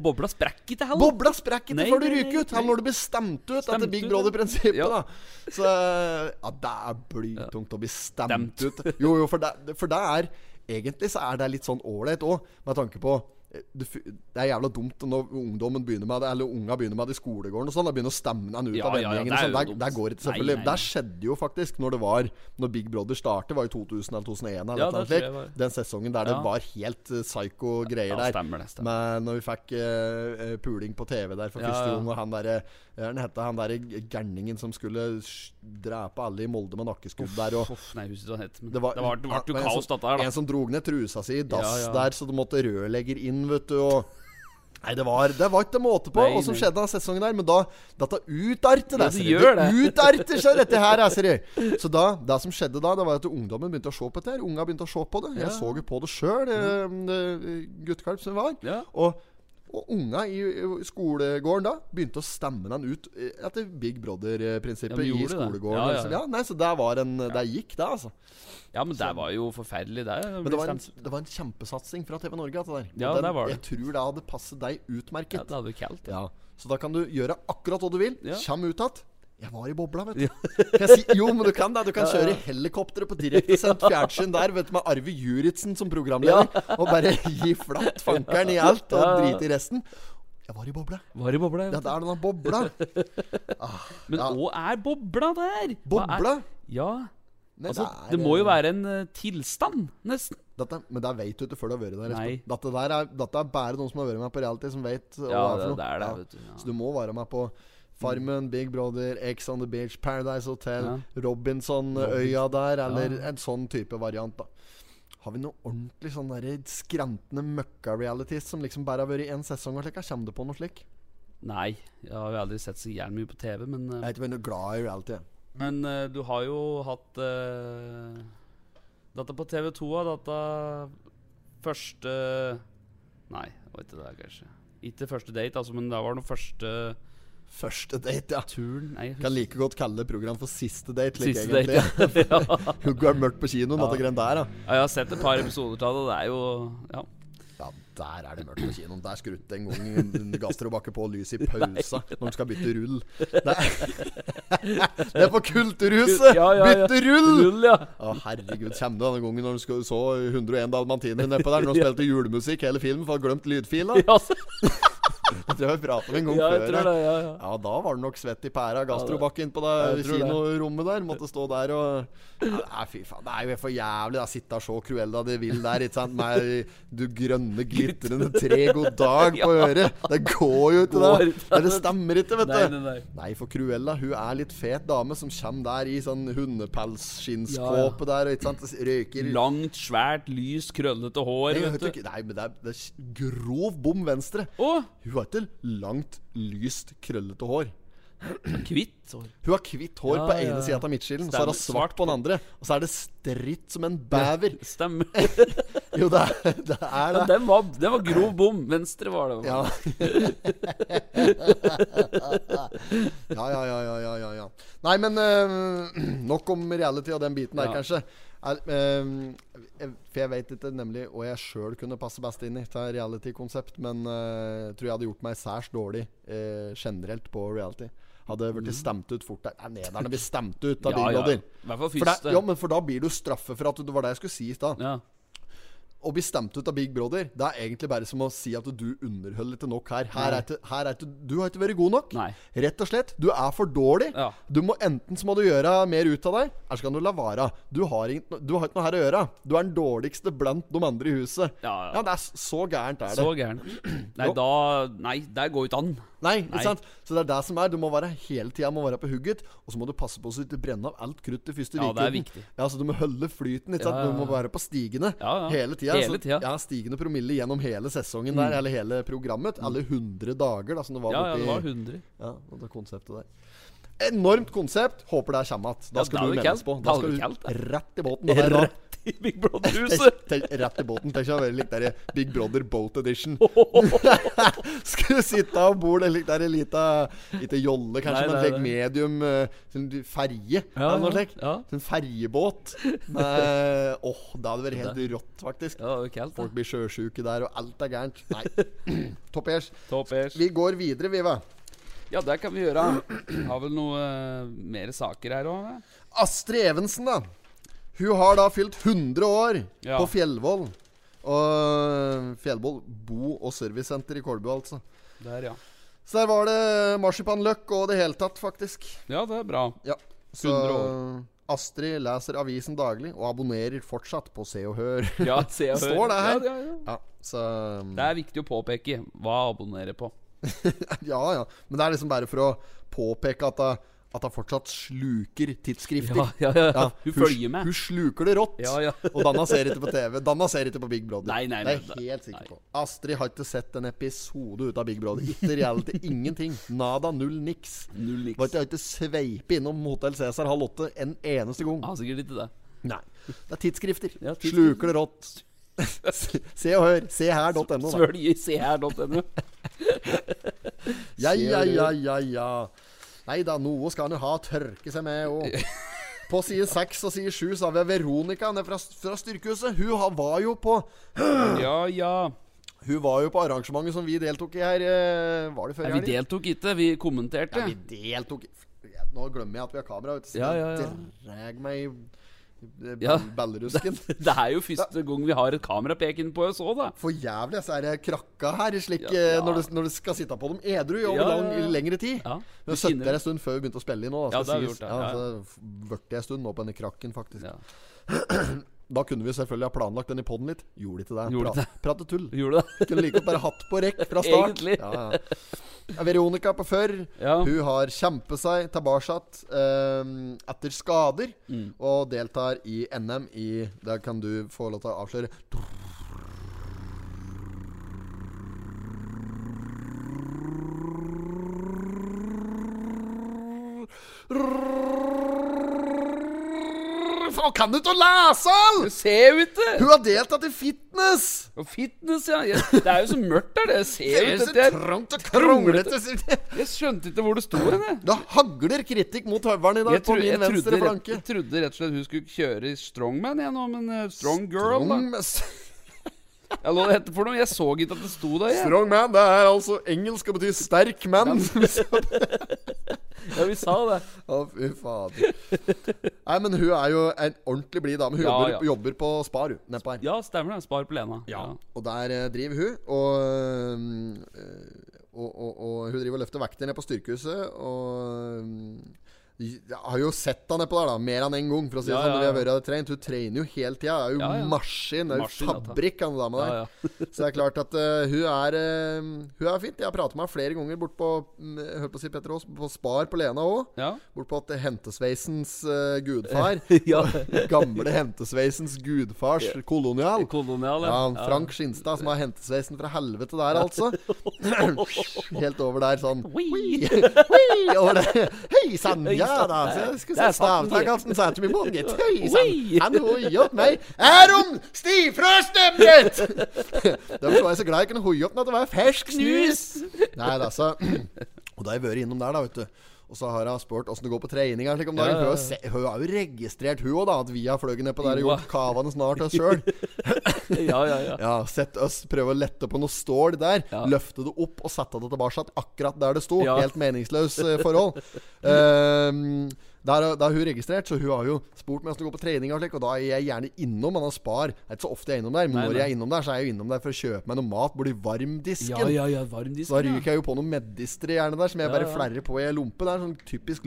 Og bobla sprekker ikke heller.
Bobla sprekker ikke
Nei,
før du
nei, nei,
ryker ut,
nei.
eller når du blir stemt ut etter
Stemt
Big
ut,
Brother-prinsippet.
ja.
da Så ja, det er blytungt å bli stemt ut. Jo, jo, for det, for det er Egentlig så er det litt sånn ålreit òg, med tanke på eh, det, fu- det er jævla dumt når ungdommen begynner med det Eller unga begynner med det i skolegården og sånn. Da begynner å stemme den ut
Ja,
av
ja, ja,
vennegjengen.
det er
og sånn.
jo
der,
dumt.
der går det ikke
Nei,
selvfølgelig.
nei, nei.
Der skjedde jo faktisk når det var Når Big Brother startet, var i 2000 eller 2001 eller
Ja,
et eller
det
annet
tror jeg
slikt.
var.
Den sesongen der
Ja.
det var helt eh, psycho greier
Ja,
der.
stemmer det, stemmer.
Men når vi fikk eh, eh, puling på TV der for
Ja,
første
ja.
gang, og han derre Han hette han derre g- gærningen som skulle sj- drepe alle i Molde med nakkeskudd der, og
Uff, nei, husker du hva den het. Men det var, det var,
han-
jo
en
kaos,
som-
dette her,
En sånn-
da.
som drog ned trusa si i dass
Ja, ja.
der, så du måtte rørlegger inn, vet du, og Nei, det var, det var ikke måte på
Nei,
hva som
nei.
skjedde den sesongen der, men da Dette utarter
Ja,
det,
det
ser
gjør det.
utarter seg, dette her, jeg, ser du. Så da, det som skjedde da, det var at ungdommen begynte å se på dette her. Unga begynte å se på det. Jeg
Ja.
så jo på det sjøl, guttekalv som jeg var.
Ja.
Og, og unga i, i skolegården da begynte å stemme den ut eh, etter Big
Ja,
Brother-prinsippet
men
i
gjorde det?
skolegården.
Ja, ja,
liksom. ja,
ja.
nei, så det var en Det gikk, det, altså.
ja, men det var jo forferdelig, det.
Men det var, en, det var en kjempesatsing fra TV Norge. dette der. Og
Ja,
den,
der var det.
Jeg tror det hadde passet deg
ja,
utmerket.
det hadde jo kaldt.
Ja, Så da kan du gjøre akkurat hva du vil.
Ja.
Kjem ut igjen. Jeg var i bobla, vet du. Kan jeg si, jo, men du kan det. Du kan kjøre helikopteret på direktesendt fjernsyn der vet du, med Arve Juritzen som programleder. Og bare gi flatt fankeren i alt og
Ja, ja.
drite i resten. Jeg var i bobla.
Var i bobla,
Ja,
ja.
det er denne bobla.
Men
Ja.
hva er bobla der? Hva er-
Bobla?
Ja.
Nei,
Altså,
er,
det må jo
eh,
være en eh, tilstand, nesten.
dette, Men det vet du ikke før du har vært der.
Nei.
Espen. Dette, der er, dette er bare noen som har vært med på reality, som vet eh, hva
Ja,
det
det,
er for noe.
det er det,
Ja.
vet du.
Så du må være med på Farmen, Big Brother, Ex on the Beach, Paradise Hotel, Robinson-øya der, eller en sånn type variant, da. Har vi noe ordentlig sånn derre skrantende møkka-realities som liksom bare har vært i én sesong og slik? Kommer du på noe slik?
Ja. Nei, jeg har jo aldri sett så jævlig mye på TV, men, eh,
Jeg er ikke veldig glad i reality.
men eh, du har jo hatt eh, Dette på TV2 av dette første Nei, det var ikke det, kanskje. Ikke første date, altså, men det var noe første
Første date, ja.
turen Nei, jeg
Kan
husker
like godt kalle det program for siste date. Like,
Siste date,
egentlig.
ja.
Det går mørkt på kinoen, dette greiene der, da.
ja, jeg har sett et par episoder av det, og det er jo Ja.
Ja, der er det mørkt på kinoen. Der skrutte en gang gastrobakke på lyset i pausa når de skal bytte rull. Det er, det er på Kulturhuset!
Ja, ja, ja.
Bytte rull!
Rull, ja.
Å, herregud, kommer du denne gangen når du skal- så 101 dalmatiner nedpå der når de spilte julemusikk hele filmen for å ha glemt lydfila?
ja. så-
Det tror jeg vi pratet om en gang
Ja,
før.
jeg tror det. Ja, ja.
Ja, da var det nok svett i pæra. Gastrobakken på
Jeg
det
tror det.
kinorommet der. Måtte stå der og ja, Nei, fy faen. Det er jo for jævlig. Da sitte og se Cruella de vil der, ikke sant. Med du grønne, glitrende tre, god dag på øret. Det går jo ikke,
Går
det.
ikke,
Nei, Det stemmer ikke, vet
Nei,
du.
nei, nei.
for Cruella, hun er litt fet dame som kommer der i sånn hundepelsskinnskåpe der, og ikke sant. Røyker
Langt, svært, lys, krøllete hår.
Nei,
vet
vet du
du.
ikke- Nei, men det er, det er grov bom venstre.
Å!
Hun har ikke langt, lyst, krøllete hår.
Kvitt hår.
Hun har hvitt hår
Ja,
på
ja,
ene
ja.
sida av midtskillen, og så er hun
Stemmer.
svart på den andre. Og så er det stritt som en bever.
Stemmer.
Jo, det er det. Er
Ja,
det.
den, var, den var grov bom. Venstre var det.
Ja. ja, ja, ja, ja, ja, ja, ja. Nei, men eh, nok om reality og den biten der,
Ja.
kanskje. Er, eh, for jeg veit ikke nemlig hva jeg sjøl kunne passe best inn i til reality-konsept, men eh, jeg tror jeg hadde gjort meg særs dårlig eh, generelt på reality. Hadde blitt stemt ut fort der. Nei, Nederne blir stemt ut av
Ja, ja.
Big Brother.
I hvert fall
For da,
første.
ja, men for da blir du straffe for at du, Det var det jeg skulle si i stad.
Ja.
Å bli stemt ut av Big Brother, det er egentlig bare som å si at du underholder ikke nok her. Her er ikke, her er ikke, du har ikke vært god nok.
Nei.
Rett og slett. Du er for dårlig.
Ja.
Du må Enten så må du gjøre mer ut av deg, eller så kan du la være. Du har, ingen, du har ikke noe her å gjøre. Du er den dårligste blant de andre i huset.
Ja, ja.
det er s- Så gærent er det.
Så gæren. Nei,
Jo.
da Nei, der går jo ikke an.
Nei, ikke
Nei.
sant? Så det er det som er. Du må være hele tida må være på hugget, og så må du passe på så du ikke brenner av alt krutt i første
Ja, det er
weekenden.
viktig.
Ja, så du må holde flyten, ikke
Ja,
sant?
ja,
Du må være på stigene
Ja, ja.
hele tida.
Hele
så-
tida.
Ja, stigende promille gjennom hele sesongen der, eller hele programmet. Alle 100 dager, da, som det var
Mm. Ja, ja,
borti
det var 100.
Ja, og det konseptet der. Enormt konsept. Håper det kommer igjen. Da
Ja, da
skal
er
du
det
meldes
kaldt.
på.
Da
Da
er
skal
det
du
kaldt.
rett i båten. og der da-
Rett i Big Brother-huset!
Tenk- tenk- Rett i båten. Tenk å være litt der i Big Brother Boat Edition. Skulle sitte av bord eller der i lita Ikke jolle, kanskje,
Nei,
men
nei,
legg
nei.
medium eh, sånn du- ferje.
Ja,
eller noe
ja,
slikt.
ja.
Sånn ferjebåt. Med- Åh, det hadde vært helt rått, faktisk.
Ja, det var kaldt,
Folk
da.
blir sjøsjuke der, og alt er gærent. Nei. Topp Ers.
Topp Ers.
Vi går videre, Viva.
Ja, det kan vi gjøre. Har vel noe eh, mer saker her òg?
Astrid Evensen, da. Hun har da fylt 100 år
Ja.
på Fjellvoll. Og Fjellvoll bo- og servicesenter i Kolbu, altså.
Der, ja.
Så der var det marsipanløk og det hele tatt, faktisk.
Ja, det er bra.
Ja. Så
100
Astrid leser avisen daglig og abonnerer fortsatt på Se og Hør.
Ja, se og hør.
Står det her?
Ja, ja, ja.
Ja, så um,
Det er viktig å påpeke hva abonnere på.
Ja, ja. Men det er liksom bare for å påpeke at hun at hun fortsatt sluker tidsskrifter.
Ja, ja, ja.
Hun
sl-
følger med.
Hun sluker det rått.
Ja, ja.
og Danna ser ikke på TV. Danna ser ikke på Big Brother.
Nei, nei,
det er
nei,
jeg
nei.
helt sikker på. Astrid har ikke sett en episode ut av Big Brother. Ikke reality. ingenting. Nada, null, niks.
Null niks.
Var ikke, har ikke sveipet innom Hotell Cæsar halv åtte en eneste gang.
Ja, sikkert ikke det.
Nei. Det er tidsskrifter.
Ah. Ja, tidsskrifter.
Sluker det rått. Se og hør. Seher.no. da.
Svølg i seher.no.
Ja, ja, ja, ja, ja. Nei da, noe skal han jo ha å tørke seg med òg. På side seks og side sju så har vi Veronica ned fra, fra Styrkehuset. Hun har- var jo på
Ja, ja.
Hun var jo på arrangementet som vi deltok i her eh, Var det før
Nei,
i
vi
helgen?
deltok ikke, vi kommenterte.
Ja, vi deltok i- Ja, Nå glemmer jeg at vi har kamera ute.
Ja, ja, ja.
Dreg meg i eh,
Ja.
ballerusken.
Det er jo første gang vi har et kamerapeken på oss òg, da.
For jævlig, så er det krakka her, slik
Ja,
eh,
ja.
Når, du, når du skal sitte på dem edru i over
Ja, ja,
lang,
ja.
i lengre tid.
Ja,
Vi har
du
sittet
kjenner
der
det.
en stund før vi begynte å spille inn nå.
Ja, det
Da,
har
skal
vi
sies.
gjort, ja,
ja,
ja, ja.
så vørte jeg en stund nå på denne krakken, faktisk.
Ja.
Da kunne vi selvfølgelig ha planlagt den i poden litt. Gjorde ikke det.
Gjorde
Pra, prate tull.
Gjorde det?
Kunne like godt bare hatt på rekk fra start.
Egentlig.
Ja, ja. Veronica på før.
Ja.
Hun har kjempet seg tilbake ehm, etter skader, og deltar i NM i Der kan du få lov til å avsløre. Faen, kan du ikke lese, all?
Du ser jo ikke!
Hun har deltatt i fitness!
Og fitness, ja. Jeg, det er jo så mørkt der. Jeg ser jo ikke. Jeg,
trangt og kronglete sier de.
jeg skjønte ikke hvor det sto hen, jeg.
Det hagler kritikk mot høveren i dag
Jeg, tro,
på min
jeg,
venstre
trodde rett,
flanke.
jeg trodde rett og slett hun skulle kjøre strongman, jeg nå, men eh, strong girl, da.
Strong- s-
Jeg, lå, jeg, for noe, jeg så ikke at det sto der, jeg.
Strong man, det er altså engelsk og betyr sterk man. Å,
Ja, vi sa det.
fy fader. Nei, men hun er jo en ordentlig blid dame. Hun
Ja,
jobber,
ja.
jobber på Spar, hun. Nedpå her.
Ja, stemmer det. Spar på Lena. Ja.
Og der eh, driver hun, og eh, og, og, og hun driver og løfter vekter ned på styrkehuset. Og mm, jeg har jo sett heg nedpå der, da. Mer enn én en gang. For å si det
Ja, ja,
sånn, når jeg har
ja.
vært og trent. Hun trener jo hele tida. Er jo
Ja, ja.
maskin. Er jo
Maskin, dette.
fabrikk, han dama der.
Ja, ja.
Så det er klart at eh, hun, er, eh, hun er fint. Jeg har pratet med henne flere ganger bort på mm, jeg holdt på å si Petter Aas, på Spar på Lena òg.
ja.
Bort på at hentesveisens eh, gudfar
ja.
Gamle hentesveisens gudfars kolonial.
Kolonial,
Ja, Frank Skinstad som har hentesveisen fra helvete der, altså. Helt over der, sånn.
Oi.
Oi, over det. Hei sann, ja da. Så jeg skulle
Der
sett
satt den.
stavtakelsen satte meg i munnen, gitt. Hei sann.
Oi.
Han hoier opp meg. Er hun stivfrøsten mitt? Derfor var jeg så glad jeg kunne hoie opp den at det var fersk snus. Nei da, så Og da har jeg vært innom der, da, vet du. Og så har hun spurt åssen det går på treninga. Slik om dagen.
Ja, ja, ja.
Hun, har jo se- hun har jo registrert, hun òg, da, at vi har fløyet nedpå der og
Jo,
gjort kavene snart oss sjøl.
Ja, ja, ja.
Ja, sett oss prøve å lette på noe stål der.
Ja.
Løfte det opp og sette det tilbake at akkurat der det sto.
Ja.
Helt meningsløs eh, forhold. Ehm, der, har- der har hun registrert, så hun har jo spurt meg hvordan det går på trening. Og slik Og da er jeg gjerne innom. Men han spar. Det er ikke så ofte jeg er innom der. Men
Nei,
når
nei.
jeg er innom der, så er jeg jo innom der for å kjøpe meg noe mat. Bor i varmdisken.
Ja, ja, ja, varm disk.
Så da ryker jeg jo på noen medister i hjernen der som jeg
Ja,
bare
ja.
flerrer på i ei lompe. Det er en sånn typisk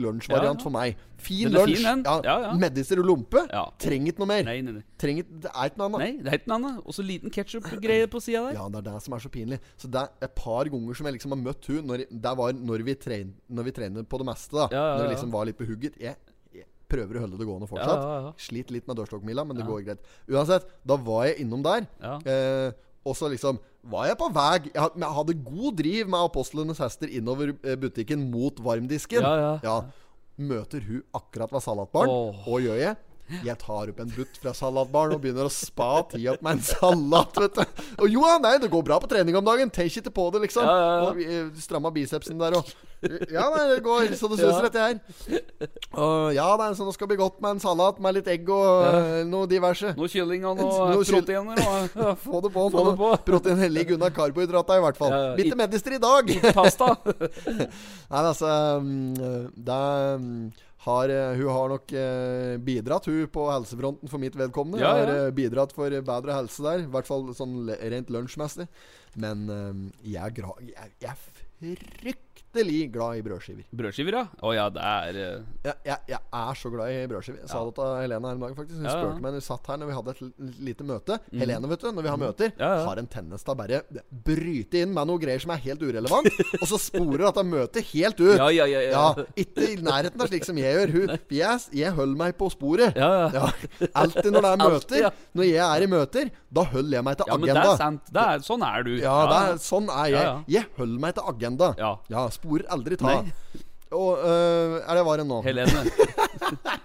Ja, ja.
lunsjvariant for meg. Fin
Den er fin,
lunsj.
den.
ja,
Ja, ja.
Medister og lompe.
Ja.
Trenger ikke noe mer.
Nei, nei, nei.
Trenger, det er ikke noe annet.
nei, det er ikke noe annet. Og så liten ketsjup-greie på sida der.
Ja, det er det som er så pinlig. Så det er et par ganger som jeg liksom har møtt hun når, Det var når vi, tren, når vi trener på det meste, da.
Ja, ja,
Når jeg
ja.
liksom var litt på hugget. Jeg, jeg prøver å holde det gående
Ja,
fortsatt.
ja, ja.
Sliter litt med dørstokkmila, men det
Ja.
går greit. Uansett, da var jeg innom der.
Ja.
Eh, og så liksom var jeg på vei jeg, had- men jeg hadde god driv med Apostlenes hester innover eh, butikken mot varmdisken.
Ja, ja.
Møter hun akkurat ved salatbaren.
Åh.
Og gjør jeg? Jeg tar opp en butt fra salatbaren og begynner å spa tida på meg en salat. vet du Og jo, ja, nei, det går bra på trening om dagen. Tenk ikke på det, liksom.
Ja, ja, ja.
Og vi- Stramma bicepsen der og Ja, nei, det går så det suser,
Ja.
dette her. Og ja, nei, så nå skal det bli godt med en salat med litt egg og eh, noe diverse.
Noe kylling og
Noe
noe
kyll-
proteiner og ja,
Få det på.
Få det på.
Protein hellig unna karbohydrata, i hvert fall.
Ja, ja.
Bitte
I-
medister i dag.
pasta.
Nei, men altså mm, Det mm, har eh, Hun har nok eh, bidratt, hun, på helsefronten for mitt vedkommende.
Ja, ja.
Har eh, bidratt for bedre helse der. I hvert fall sånn le- rent lunsjmessig. Men eh, jeg er gra... Jeg, jeg er fryktelig glad i brødskiver.
Brødskiver, ja. Å ja, det er eh,
Jeg, jeg, jeg er så glad i brødskiver. Jeg sa
Ja.
det til Helene her om dagen, faktisk. Hun
Ja, ja.
spurte meg når vi satt her når vi hadde et l- lite møte. Helene, vet du, når vi har møter,
Mm. Ja, ja.
har en tendens til å bare bryte inn med noe greier som er helt urelevant, og så sporer dette møtet helt ut.
Ja, ja, ja. ja.
Ja, ikke i nærheten av slik som jeg gjør. Hun, jeg, jeg holder meg på sporet.
Ja, ja.
Alltid når det er
Alltid,
møter.
ja.
Når jeg er i møter, da holder jeg meg til
ja men det
agenda.
er sant. Det er, sånn er du.
ja, det er, sånn er jeg.
Ja,
Jeg holder meg til agenda.
Ja.
sporer aldri ta.
Nei.
Og øh, Er det varen nå?
Helene.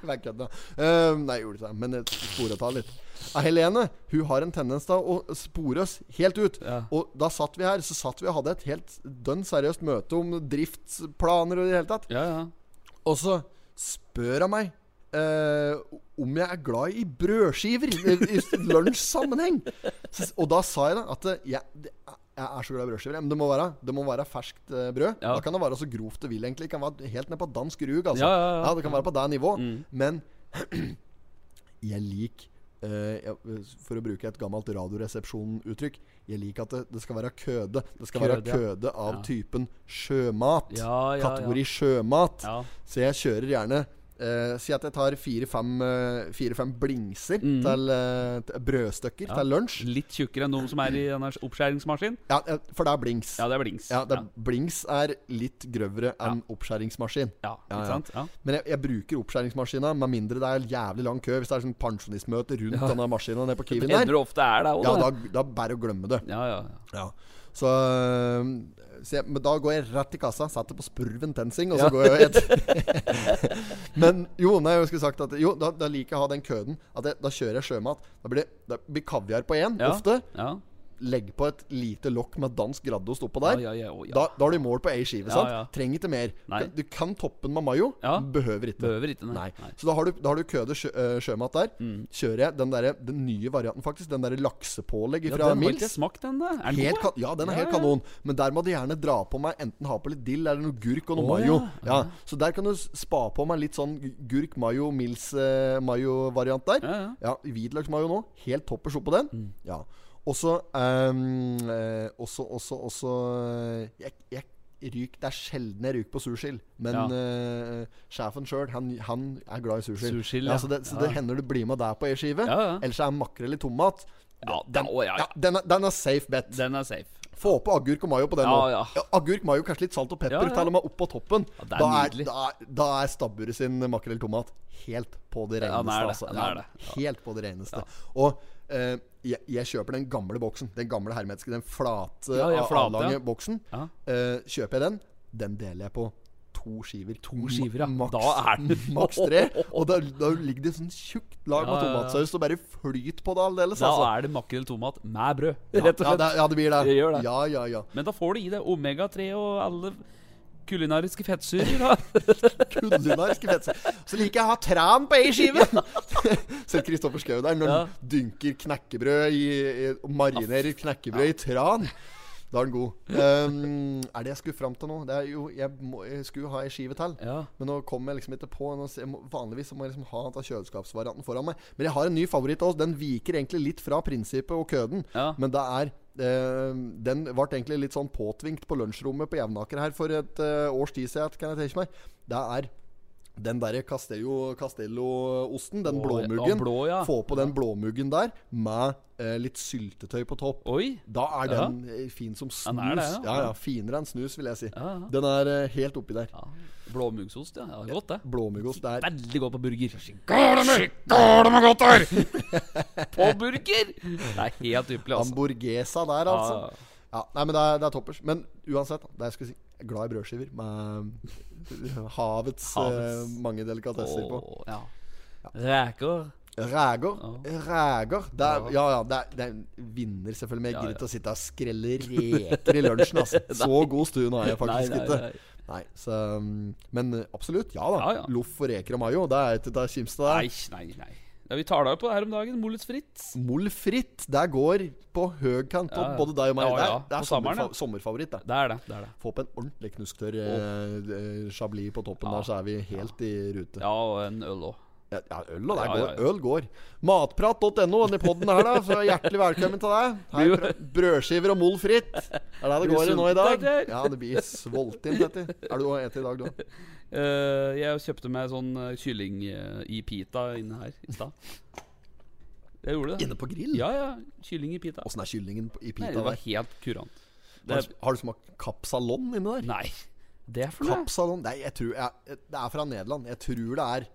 Vær kødd, da. Øh, nei, jeg gjorde ikke det, men jeg sporet ta litt. Ja, Helene hun har en tendens til å spore oss helt ut.
Ja.
Og da satt vi her Så satt vi og hadde et helt dønn seriøst møte om driftsplaner og i det hele tatt.
Ja, ja.
Og så spør han meg eh, om jeg er glad i brødskiver i, i lunsjsammenheng. Så- Og da sa jeg da at eh, jeg, det- jeg er så glad i brødskiver. ja, Men det må være, det må være ferskt eh, brød.
Ja.
Da kan det være så grovt det vil, egentlig. Det kan være helt ned på dansk rug. Altså.
Ja, ja, Mm. ja.
det kan være på det nivået. Men jeg liker eh, jeg- For å bruke et gammelt Radioresepsjon-uttrykk Jeg liker at det, det skal være køde. Det skal
Køde,
være
ja.
køde av
Ja.
typen sjømat.
Ja, ja, ja.
Kategori sjømat.
Ja.
Så jeg kjører gjerne eh, Si at jeg tar fire-fem eh, fire-fem blingser
Mm.
til eh, t- brødstykker til lunsj.
Litt tjukkere enn de som er i denne oppskjæringsmaskin.
Ja, eh, for det er blings.
Ja, det er blings.
Ja, det er, Blings er litt grøvere enn oppskjæringsmaskin.
ja,
Ja, ja.
ikke sant? Ja.
Men jeg, jeg bruker oppskjæringsmaskina, med mindre det er jævlig lang kø. Hvis det er sånn pensjonistmøte rundt denne maskina nede på
Det
Kiwien
hender
der,
det ofte er det òg,
ja, da, da bare å glemme det.
Ja, ja, ja.
Ja. Så, øhm, så jeg, men da går jeg rett i kassa, setter på spurven tensing, og så går jeg et Men jo, nei, jeg skulle sagt at Jo, da, da liker jeg å ha den køden. At jeg, da kjører jeg sjømat. Da blir det da blir kaviar på én,
Ja.
ofte.
ja.
Legg på et lite lokk med dansk graddost oppå der.
Ja, ja, ja, å, ja.
Da, da har du mål på ei skive.
Ja,
sant?
ja.
Trenger ikke mer.
Nei.
Du kan toppe den med mayo.
Ja.
Behøver ikke.
Behøver ikke, nei.
Nei.
Nei. Mm.
Så da har du, da har du køde sjø, øh, sjømat der. Kjører jeg den, derre- den nye varianten, faktisk. Den derre laksepålegg
ja
fra
den har ikke
Mills.
jeg smakt ennå. Er den
Helt
god?
kan, ja, den er
Ja,
helt
ja.
kanon. Men der må du gjerne dra på meg enten ha på litt dill eller noe gurk og noe
Å,
mayo.
ja.
Ja. Så der kan du s- spa på meg litt sånn gu- gurk, mayo, mils eh, mayo-variant der.
Ja, ja.
Hvitløksmayo nå. Helt toppers oppå den. Ja. Også, ehm, eh, også Også Også eh, Jeg, jeg ryk, det er sjelden jeg ryker på sursild, men
Ja.
eh, sjefen sjøl, han, han er glad i sursild.
Sursild,
ja,
ja.
så det, så det hender du blir med der på ei skive.
Ja, ja.
Ellers er makrell i tomat
Ja,
den,
da- å, ja, ja.
den, er, den er safe bet.
Den er safe.
Få på agurk og mayo på den
Ja,
nå.
ja.
agurk, mayo, kanskje litt salt og pepper.
Ja, ja.
Til og med opp på toppen.
det er
da, er,
nydelig.
da, er, da er stabburet sin makrell tomat helt på det
Ja, den
reneste.
er det,
altså.
den
Ja,
er det.
Helt på det reneste. Og eh, jeg, jeg kjøper den gamle boksen. Den gamle hermetiske, den flate,
Ja, ja, flate,
avlange
ja.
boksen.
Ja.
Eh, kjøper jeg den, den deler jeg på to skiver. To
skiver, ja.
Maks,
Da er den-
maks tre. Og da, da ligger det sånn tjukt lag
Ja,
med
ja, ja.
tomatsaus og bare flyt på det aldeles.
Da
altså.
er det makrell tomat med brød, rett og
ja,
slett.
det, ja, det blir det.
Det gjør det.
Ja, ja, ja.
Men da får du i deg omega-3 og alle kulinariske fettsyrer. da.
kulinariske fettsyre. Så liker jeg å ha tran på ei skive! Ser Kristoffer Schou der når
Ja.
han dynker knekkebrød i, i og marinerer knekkebrød i tran. Da er den god. Ehm, er det jeg skulle fram til nå? Det er jo, jeg, må, jeg skulle ha ei skive til.
Ja.
Men nå kom jeg liksom ikke på nå ser jeg må- Vanligvis så må jeg liksom ha den kjøleskapsvarianten foran meg. Men jeg har en ny favoritt også. Den viker egentlig litt fra prinsippet og køden.
Ja.
Men det er eh, Den ble egentlig litt sånn påtvingt på lunsjrommet på Jevnaker her for et eh, års tid siden, kan jeg tenke meg. Det er den derre Castello- Castello-osten,
Å, ja,
den blåmuggen.
blå, ja.
Få på den blåmuggen der med eh, litt syltetøy på topp.
Oi.
Da er
Ja.
den eh, fin som snus.
Den er det, ja.
ja. ja, Finere enn snus, vil jeg si.
Ja, ja.
Den er eh, helt oppi der.
Ja. Blåmuggsost, ja. ja. det er Godt, det.
Blåmuggost. Det er
Veldig godt på burger. På burger! Det er helt ypperlig, altså.
hamburgesa der, altså.
Ja.
Ja, nei, men det er, det er toppers. Men uansett, det jeg skulle si jeg er Glad i brødskiver med havets eh,
Havets.
mange delikatesser på.
Å, ja. Reker.
Ræger. Ræger. Det er, ja, ja, det er, det er en vinner, selvfølgelig. Men jeg
Ja,
gidder
ja.
ikke å sitte og skrelle reker i lunsjen. Altså. Så god stue har jeg faktisk
Nei, nei, nei.
ikke. Nei, så, um, men eh, absolutt. Ja da.
Ja, ja.
Loff og reker og mayo. Det er ikke til å kimse av.
Nei, nei, nei. Ja, vi tar da på det her om dagen. Mollets fritt.
Mollfritt, det går på høykant
Ja,
opp,
ja.
både deg og meg.
Ja, ja.
Det er, det
På
er
sommeren,
sommerfa sommerfavoritt, det.
Det er det. det, er det.
Få på en ordentlig knusktørr eh, eh, chablis på toppen der, så er vi helt i rute.
Ja, og en øl òg.
Ja, ja øl og det
Ja,
går.
ja, ja.
Øl går. Matprat.no, denne podden her, da. Så hjertelig velkommen til deg. Her,
Blir jo-
prø- brødskiver og mol fritt. Er det det
Blir
går i nå i
sulten,
dag?
Petter.
Ja, det blir svoltint, dette. Er du og et i dag, du?
Eh, jeg kjøpte meg sånn eh, kylling eh, i pita inne her i stad. Jeg gjorde det.
Inne på grill?
Ja, ja. Kylling i pita.
Åssen er kyllingen på- i
Nei,
pita
det var
der?
helt kurant.
Har
Det,
du, har du smakt kapsalon inni der?
nei, det er for noe.
Kapsalon Nei, jeg tror jeg, Det er fra Nederland. Jeg tror det er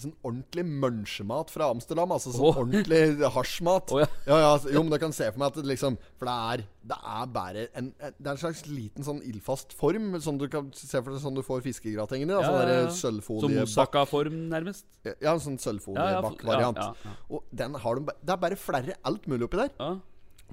sånn ordentlig munchemat fra Amsterdam. Altså sånn
Åh.
ordentlig hasjmat.
Åh, ja.
ja, altså, jo, men du kan se for meg at det liksom For det er, det er bare en, en Det er en slags liten sånn ildfast form. Sånn du kan se for deg sånn du får fiskegratengene. Da, sånn der
Som
sølvfoliebakk
moussaka-form, nærmest.
Ja, en
Ja,
sånn
ja,
sølvfoliebakkvariant.
ja, ja, ja.
Og den har de ba- Det er bare flere alt mulig oppi der.
Ja.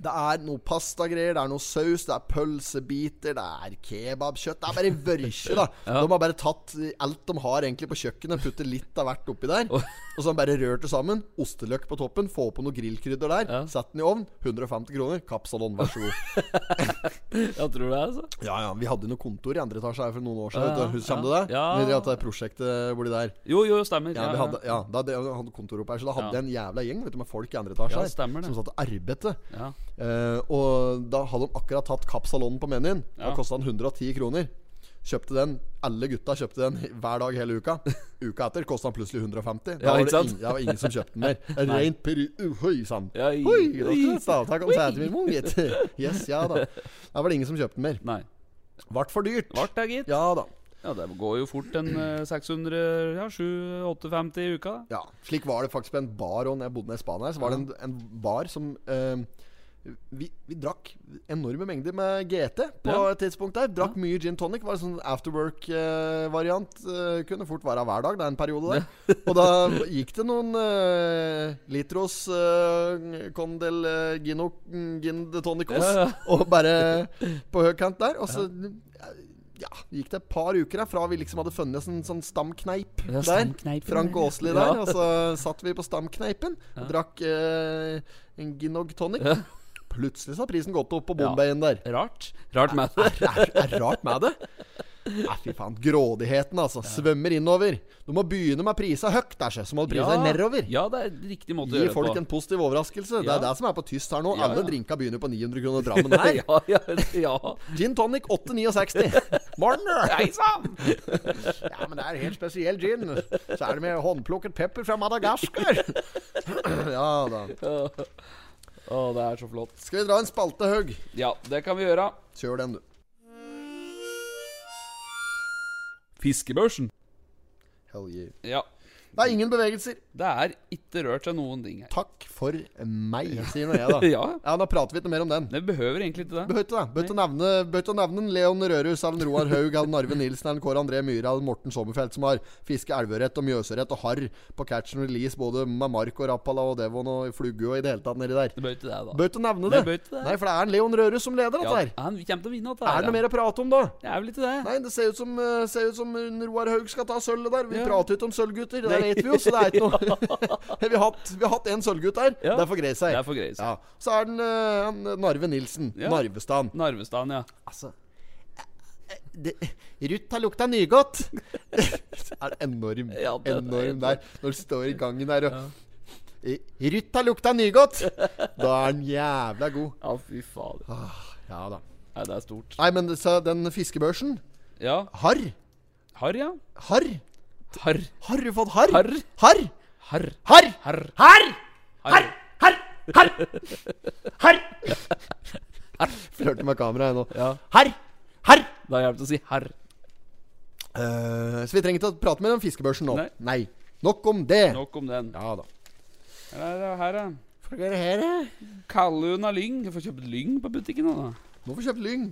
Det er noe pastagreier, det er noe saus, det er pølsebiter, det er kebabkjøtt. Det er bare vørkje, da. De har bare tatt alt de har egentlig på kjøkkenet, puttet litt av hvert oppi der. Og så har de bare rørt det sammen. Osteløk på toppen, få på noe grillkrydder der. Sett den i ovn. 150 kroner. Kapsalon, vær så god.
Jeg tror det, altså.
Ja, ja. Vi hadde noe kontor i andre etasje her for noen
Ja,
år siden.
ja,
Ja, Husker du
ja.
det?
Ja.
Vi drev at det prosjektet borti der.
Jo, jo, stemmer.
Ja, vi hadde, ja, da hadde jeg hadde kontor oppe her, så da hadde jeg en jævla gjeng vet du, med folk i andre etasje
Ja,
her
stemmer det.
som satt og arbeidet.
Ja.
Eh, og da hadde de akkurat tatt Kapsalonen på menyen. Da
Ja.
kosta den 110 kroner. Kjøpte den, Alle gutta kjøpte den hver dag hele uka. Uka etter kosta den plutselig 150. Da
Ja,
var
ikke
det,
sant?
ingen, det var ingen som kjøpte den mer. Rent peri... Hoi sann.
Ja, i-
Hoi, da skal
i-
du stavtak om sætet mitt, mor, gitt. Yes, ja da. Da var det ingen som kjøpte den mer.
Nei.
Vart for dyrt.
Vart det, gitt.
Ja da.
Ja, det går jo fort en eh, 600 Ja, 7-850 i uka. da.
Ja, slik var det faktisk på en bar Og når jeg bodde nede i Spania her, så var det en, en bar som eh, vi, vi drakk enorme mengder med GT på
Ja.
et tidspunkt der. Drakk mye gin tonic. Var en sånn afterwork-variant. Eh, kunne fort være hver dag, det er en periode der. Og da gikk det noen eh, litros eh, Condel eh, Gino Gin de Tonicos
Ja, ja.
og bare på høykant der. Og så ja, gikk det et par uker her fra vi liksom hadde funnet en sånn stamkneip
Ja,
der.
stamkneipen
Frank
der, ja. Ja.
Åsli der. Og så satt vi på stamkneipen og drakk eh, en Ginog tonic. Plutselig så har prisen gått opp på Bombayen der.
Rart. Rart med det.
Det er, er rart med det. Nei, fy faen. Grådigheten, altså. Svømmer innover. Du må begynne med prisa høyt, der, så må du prise deg nedover.
Ja, det er riktig måte å
Gi
gjøre
folk
det på.
en positiv overraskelse. Det
Ja.
er det som er på tyst her nå.
Ja,
Alle
ja.
drinka begynner på 900 kroner Drammen her.
Ja, ja, ja.
Gin tonic 869. Marner!
Hei sann!
Ja, men det er helt spesiell gin. Så er det med håndplukket pepper fra Madagaskar. Ja da.
Å, det er så flott.
Skal vi dra en spaltehugg?
Ja, det kan vi gjøre.
Kjør den, du.
Fiskebørsen.
Hell yeah.
Ja.
Det er ingen bevegelser.
Det er ikke rørt seg noen ting her.
Takk for meg, sier nå jeg, da.
Ja,
Ja, Da prater vi ikke mer om den.
det behøver egentlig ikke det.
Behøvde det. Behøvde å nevne, behøvde å nevne en Leon Rørus, eller Roar Haug, eller Narve Nilsen, eller Kåre André Myhre, eller Morten Sommerfelt, som har fiske elverett og mjøsørett og harr på catch and release, både med mark og rappala og devon og flugge og i det hele tatt nedi der.
Det bør ikke det, da.
Behøvde å nevne
Nei,
det.
behøvde ikke det.
Nei, for det er en Leon Rørus som leder
Ja,
dette her.
han kommer til å vinne dette
Er det noe mer å prate om, da?
Det er vel ikke det.
Nei, det ser ut som, eh, ser ut som Roar Haug skal ta sølvet der. Vi
Ja.
prater ikke om sølvgutter, det vet vi jo, så det er ikke noe Vi har hatt, vi har hatt en sølvgutt der.
Ja.
Det er for grei seg.
Det er for greit.
Ja. Så er den eh, han, Narve Nilsen.
Ja.
Narvestan.
Narvestan, ja.
Altså eh, det, Ruth har lukta nygodt! er enorm.
Ja, den er
enorm
enorm.
der. Når du står i gangen der og Eh, Ruth har lukta nygodt! Da er den jævla god.
Ja, fy fader.
Ah. Ja da.
Nei, det er stort.
Nei, men så den fiskebørsen
Ja.
Harr?
Harr, ja.
Harr?
Harr.
Har du fått harr?
Harr.
Harr?
Harr.
Harr?
Harr.
Harr!
Harr.
Harr! Harr! Harr! Flørter med kameraet nå.
Ja.
Harr! Harr!
Da hjelper det å si harr.
Eh, så vi trenger ikke å prate mer om fiskebørsen nå.
Nei.
Nei. Nok om det.
Nok om den.
Ja da.
Her er det her, ja.
Får dere her, eh?
Kallun av lyng. Du får kjøpt lyng på butikken nå, da.
Nå får vi kjøpt lyng.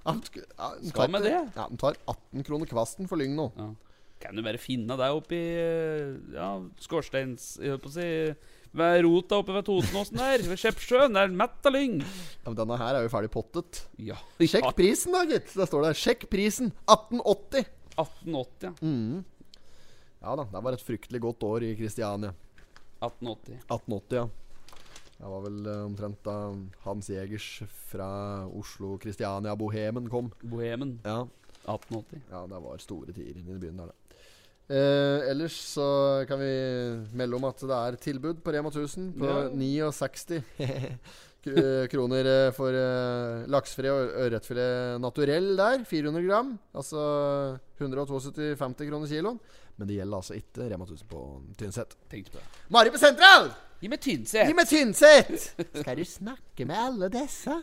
Ja, den sk- ja, den
Skal
tar
med
ikke-
det?
Ja, Den tar 18 kroner kvasten for lyng nå.
Kan du bare finne deg oppi eh, Ja, skorsteins... Jeg holdt på å si Ved rota oppe ved Totenåsen der. Ved Skjeppsjøen. Det er mett av lyng.
Ja, men Denne her er jo ferdig pottet.
Ja.
Sjekk prisen, da, gitt. Der står det. Sjekk prisen. 1880.
1880, ja.
Ja da, det var et fryktelig godt år i Kristiania.
1880.
1880, ja. Det var vel eh, omtrent da Hans Jegers fra Oslo, Kristiania, Bohemen kom.
Bohemen.
Ja,
1880.
Ja, det var store tider inne i byen der, da. Eh, ellers så kan vi melde om at det er tilbud på Rema 1000 på
Ja.
69 k- eh, kroner eh, for eh, laksefri og ørretfilet naturell der. 400 gram. Altså 172,50 kroner kiloen. Men det gjelder altså ikke Rema 1000 på Tynset.
Tenkte på det.
Mari på Sentral!
Gi meg Tynset.
Gi meg Tynset! Skal du snakke med alle disse?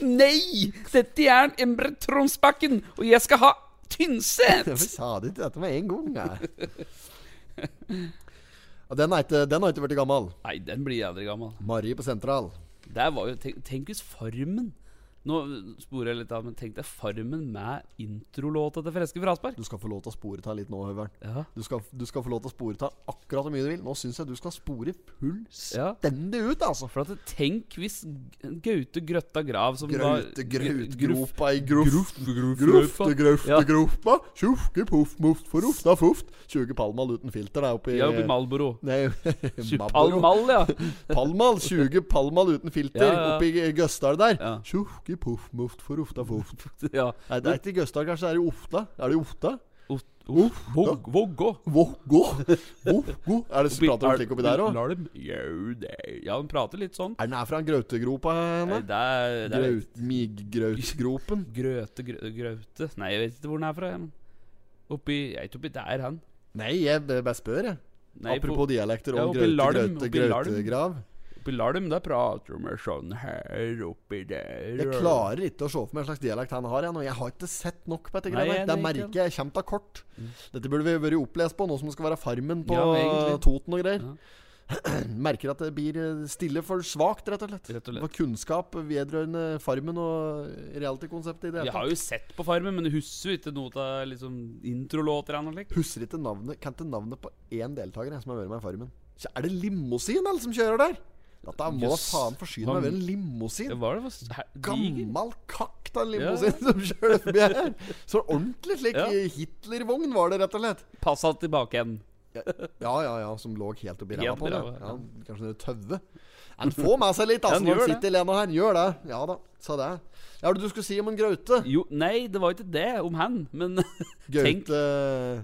Nei! Dette er Embre Tronsbakken, og jeg skal ha Tynset!
Hvorfor sa du ikke dette med en gang? da? Ja, Den har ikke- den har ikke blitt gammel.
Nei, den blir jeg aldri gammel.
Marie på sentral.
Det var jo, tenk, tenk hvis Farmen Nå sporer jeg litt av, men tenk deg Farmen med introlåta til Freske Fraspark.
Du skal få lov til å spore ta litt nå, Høveren.
Ja.
Du skal, du skal få lov til å spore ta akkurat hvor mye du vil. Nå syns jeg du skal spore
Ja.
fullstendig ut, altså.
For at tenk hvis Gaute Grøtta Grav som
Graute,
Gruff-
graut, gropa i gruff. Grufte, grøfte,
Ja.
grufpa. Tjufke, poff, moft, forufta, fuft. 20 palmal uten filter der oppe i
Ja, oppi Malboro.
Nei, Marlboro.
Palmal, ja.
Palmal. 20 palmal uten filter
Ja, ja.
oppe i Gøsdal der.
Ja.
Tjufke, poff, moft, forufta, fuft.
ja.
Nei, det er ikke i Gøsdal, kanskje. Det er i Ofta. Er det i Ofta?
Ot- Uff, Våg- Vågå.
Vågå. Vågå. Er det prater de slik oppi der òg?
Larm. Jo, det- Ja, hun prater litt sånn.
Er den her fra en grautegropa?
Nei,
henne?
det er, det er
Graut, Miggrautsgropen?
Grøte grø, Graute Nei, jeg vet ikke hvor den er fra. jeg, men Oppi Jeg er ikke oppi der, han.
Nei, jeg b- bare spør, jeg.
Nei,
Apropos dialekter
ja,
og
oppi
graute,
Larm,
graute,
oppi Larm.
grautegrav.
på, oppi Larm, der prater de sånn her oppi der
Jeg klarer ikke å se for meg en slags dialekt han har. Jeg, nå. jeg har ikke sett nok på dette.
Nei,
greiene
jeg-
Det
nei, ikke
merker jeg kommer av kort. Dette burde vi vært opplest på, nå som det skal være Farmen på
Ja, egentlig.
eh, Toten og greier. merker at det blir eh, stille for svakt, rett og slett.
Rett og slett.
For kunnskap vedrørende Farmen og reality-konseptet i det
Jeg
hele
har
tatt.
jo sett på Farmen, men jeg husker jo ikke noe av liksom, introlåter eller noe slikt.
Husker ikke navnet Kan ikke navnet på én deltaker jeg, som har vært med i Farmen. Så er det limousin alle som kjører der? Dette må da
Jøss.
faen forsyne meg
Han-
med en limousin.
Det var det for her- diger.
Gammal kakk av en
Ja.
limousin som kjører forbi her. Så ordentlig slik
Ja.
Hitlervogn var det, rett og slett.
Passa tilbake igjen.
Ja, ja, ja, som lå helt oppi ræva
Helt
på
i
det.
ræva,
Ja, kanskje det tøve. Han får med seg litt,
Ja,
altså,
han
når
gjør
han
det.
sitter i lena her. Gjør det. Ja da, sa det. Ja, hva er det du skulle si om en graute?
Jo, nei, det var ikke det om han, men tenk,
Gaute eh,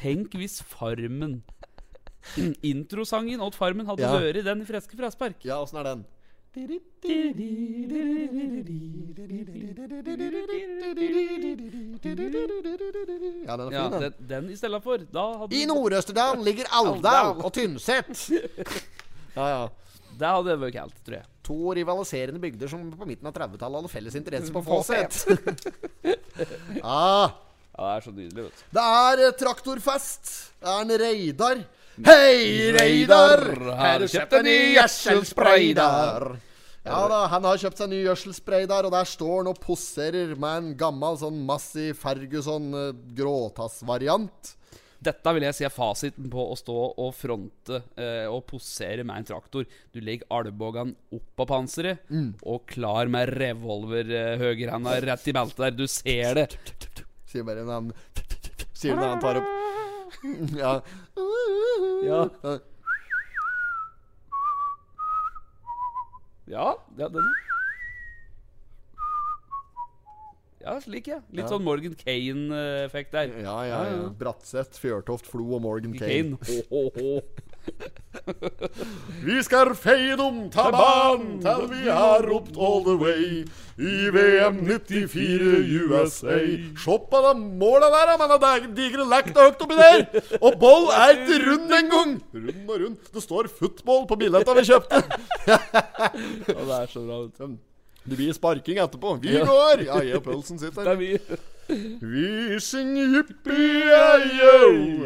tenk hvis Farmen Introsangen åt Farmen hadde
Ja.
vært den i Freske Fraspark.
Ja, åssen er den? Ja, den er
Ja,
fin, den.
den, den i stedet for. Da hadde
I Nord-Østerdalen ligger Alvdal og Tynset. Ja, ja.
Det hadde det vært kaldt, tror jeg.
To rivaliserende bygder som på midten av 30-tallet hadde felles interesse på Fawcett. ah,
Ja, det er så nydelig, vet du.
det er eh, traktorfest. Det er en Reidar. Hei, Reidar! Har du kjøpt en ny gjødselspray der? Ja da, han har kjøpt seg ny gjødselspray der, og der står han og poserer med en gammel sånn massiv Ferguson eh, gråtassvariant.
Dette vil jeg si er fasiten på å stå og fronte eh, og posere med en traktor. Du legger albuen opp av panseret
Mm.
og klar med revolver eh, høyrehanda rett i beltet der. Du ser det.
Sier bare når han Sier når han tar opp Ja.
Ja. Ja, ja den Ja, slik, ja. Litt
Ja.
sånn Morgan Kane-effekt der.
Ja, ja, ja. Bratseth, Fjørtoft, Flo og Morgan Kane.
Kane. Ho, ho, ho.
Vi skal feie dem ta banen til vi har ropt all the way i VM 94 USA. Se på de måla der, men det er digre lekt høyt oppi der! Og ball er ikke rund engang! Rund og rund. Det står 'football' på billetta vi kjøpte.
Ja, det er så bra. vet du.
Det blir sparking etterpå. Vi går! Ja, jeg og pølsen sitter.
Det er mye.
Vi synger jippi-ei-yo,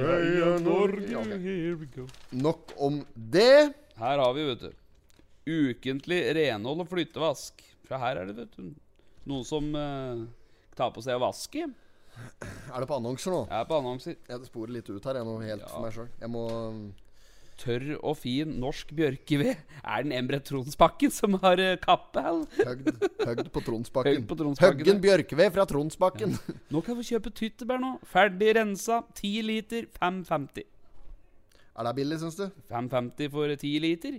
heia Norge
Here we go.
Nok om det.
Her har vi, vet du. Ukentlig renhold og flyttevask. Fra her er det, vet du. Noen som eh, tar på seg å vaske. Jeg
Er det på annonser nå?
er på annonser.
Jeg sporer litt ut her, jeg nå, helt for meg sjøl. Jeg må um,
Tørr og fin norsk bjørkeved. Er den Embret Tronsbakken som har eh, kappe, eller?
høgd, høgd på Tronsbakken.
Høgd på Tronsbakken,
Høggen bjørkeved fra Tronsbakken.
Nå kan vi kjøpe tyttebær nå. Ferdig rensa. 10 liter, 5,50.
er det billig, syns du?
5,50 for 10 liter?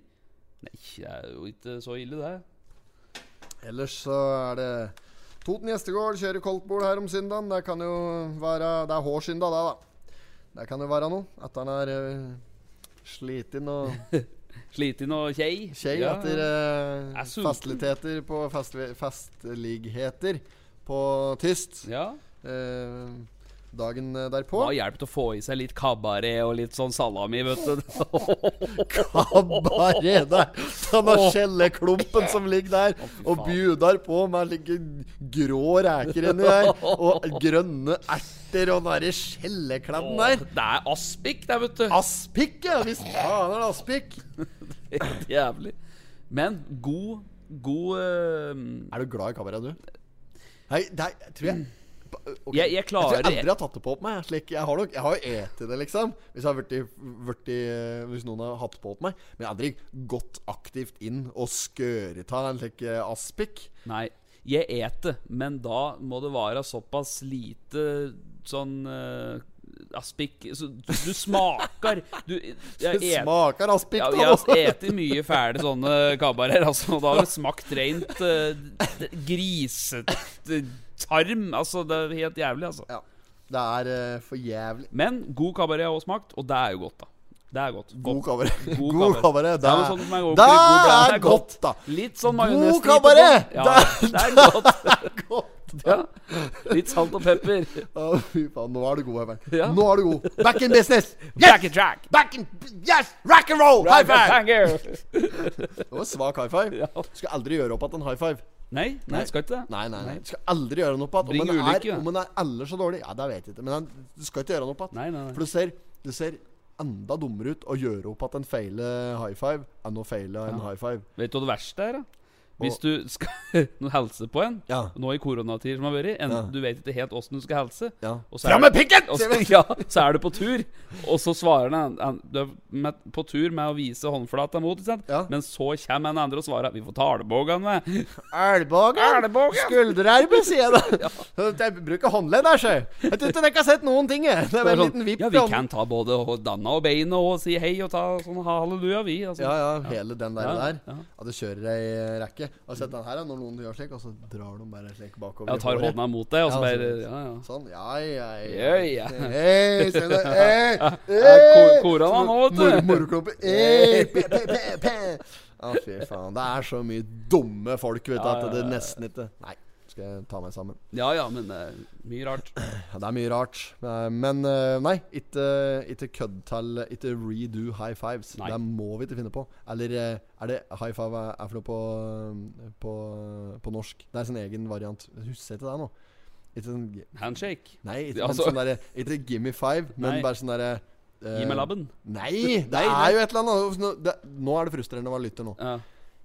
Nei, det er jo ikke så ille, det.
Ellers så er det Toten gjestegård kjører koldtbord her om søndagen. Det kan jo være Det er hårsynda, det, da. Det kan jo være noe. At han er uh, sliten og
Sliten og kjei.
Skei
Ja,
etter eh,
Jeg er sulten.
festiliteter på fest, festligheter på tyst.
Ja.
Eh, dagen eh, derpå.
Hva hjelper det å få i seg litt kabaret og litt sånn salami, vet du?
Kabaret der! Denne skjelleklumpen som ligger der og bjudar på med like grå reker inni der. Og grønne erter og den derre skjellekladden der.
Det er aspik der, vet du.
Aspik, ja! Hvis faen er det aspik.
Helt jævlig. Men god God eh,
Er du glad i kabaret, du? Nei, det er- jeg tror jeg Ok.
jeg, jeg klarer
Jeg tror jeg aldri har tatt det på meg. Slik. Jeg har nok Jeg har jo eti det, liksom. Hvis, jeg har vært i, vært i, hvis noen har hatt på meg. Men jeg har aldri gått aktivt inn og skøret av en slik eh, aspik.
Nei. Jeg et det, men da må det være såpass lite sånn eh, aspik så, Du du smaker Du
Det
jeg et,
smaker aspik,
Ja,
da.
jeg har
altså.
spist mye fæle sånne kabarer, altså. og Da har det smakt rent uh, grisetarm. Altså, det er helt jævlig, altså.
Ja. Det er eh, for jævlig.
Men god kabaret har jeg også smakt, og det er jo godt, da. Det er godt.
God
godt.
kabaret.
God
God
kabaret.
kabaret.
Det er
Det
jo sånn som er
er,
ordentlig
det
god blei.
er godt, da.
Litt sånn
God
majones til
kabaret!
på. Ja, det er godt.
Godt.
Ja. Litt salt og pepper.
Å, Fy faen, nå er du god, Herman.
Ja.
Nå er du god. Back in business!
Jack
Yes!
and Jack.
Back in Yes! Rock and roll! High five!
Cliffhanger.
Det var svak high five. Skal aldri gjøre opp igjen en high five.
Nei, nei, skal ikke det.
Nei, nei, nei. Du skal aldri gjøre noe på at om
Bring
en er,
ulykke, ja.
om en er eller så dårlig Ja, det vet jeg ikke, men han, du skal ikke gjøre noe på at
Nei, nei, nei.
For du ser, du ser enda dummere ut å gjøre opp at en feiler high five enn å feile en high five.
Vet du hva det verste er? da? Hvis du skal noen helse på en,
Ja.
nå i koronatider som har vært,
Ja.
enten du vet ikke helt åssen du skal helse
Ja.
og så er
Fram
du-
med pikken!
og
sier
så,
vi.
ja, så er du på tur, og så svarer han, han Du er med, på tur med å vise håndflata mot, ikke sant?
Ja.
men så kommer han andre og svarer 'Vi får ta albogene med'.
Elbogen! Skulderarbe, sier jeg da. Jeg bruker håndledd her, sjø. Jeg tror ikke dere har sett noen ting, jeg. Det
Det
er
er
bare en
sånn,
liten vipp.
ja,
i
vi
hånden.
kan ta både og danna og beina og si hei og ta sånn halleluja, vi. Altså.
Ja, ja, hele den der.
Ja,
der
ja.
At du kjører ei eh, rekke. Har du sett den her, da? når noen gjør slik, og så drar de bare slik bakover.
Jeg tar
håret.
hånda mot deg, og så
Ja,
bare
sånn.
Ja, ja.
Sånn. Ja, ja, ja.
Ja, ja.
Hei, se det. Hei,
ko- kora da nå, vet du.
Mor- Morklumper. Hei, pe, pe, pe, pe. Å, fy faen. Det er så mye dumme folk, vet du,
Ja,
at
ja,
det
ja.
nesten ikke Nei, skal jeg ta meg sammen.
ja, ja, men det er mye rart.
Ja, det er mye rart. Eh, Men eh, nei, ikke, ikke kødd til Ikke redo high fives.
Nei.
Det må vi ikke finne på. Eller eh, er det high five er er for noe på, eh, på, på norsk? Det er sin egen variant. Husker jeg ikke det nå. Ikke sånn
Handshake.
Nei, ikke,
Ja,
men
altså-
sånn derre Ikke gimme five, men
Nei.
bare sånn derre eh,
Gi meg labben.
Nei! Det
Nei,
er
nei.
jo et eller annet nå- det, Nå er det frustrerende å være lytter nå.
Ja.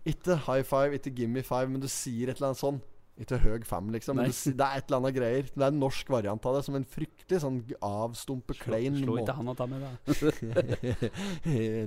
Ikke high five, ikke gimme five, men du sier et eller annet sånn. Ikke høg fem, liksom. Men
Nei.
du, si- det er et eller annet greier. Det er en norsk variant av det, som en fryktelig sånn g- avstumpe, klein
Slå
måte.
ikke han og ta med deg.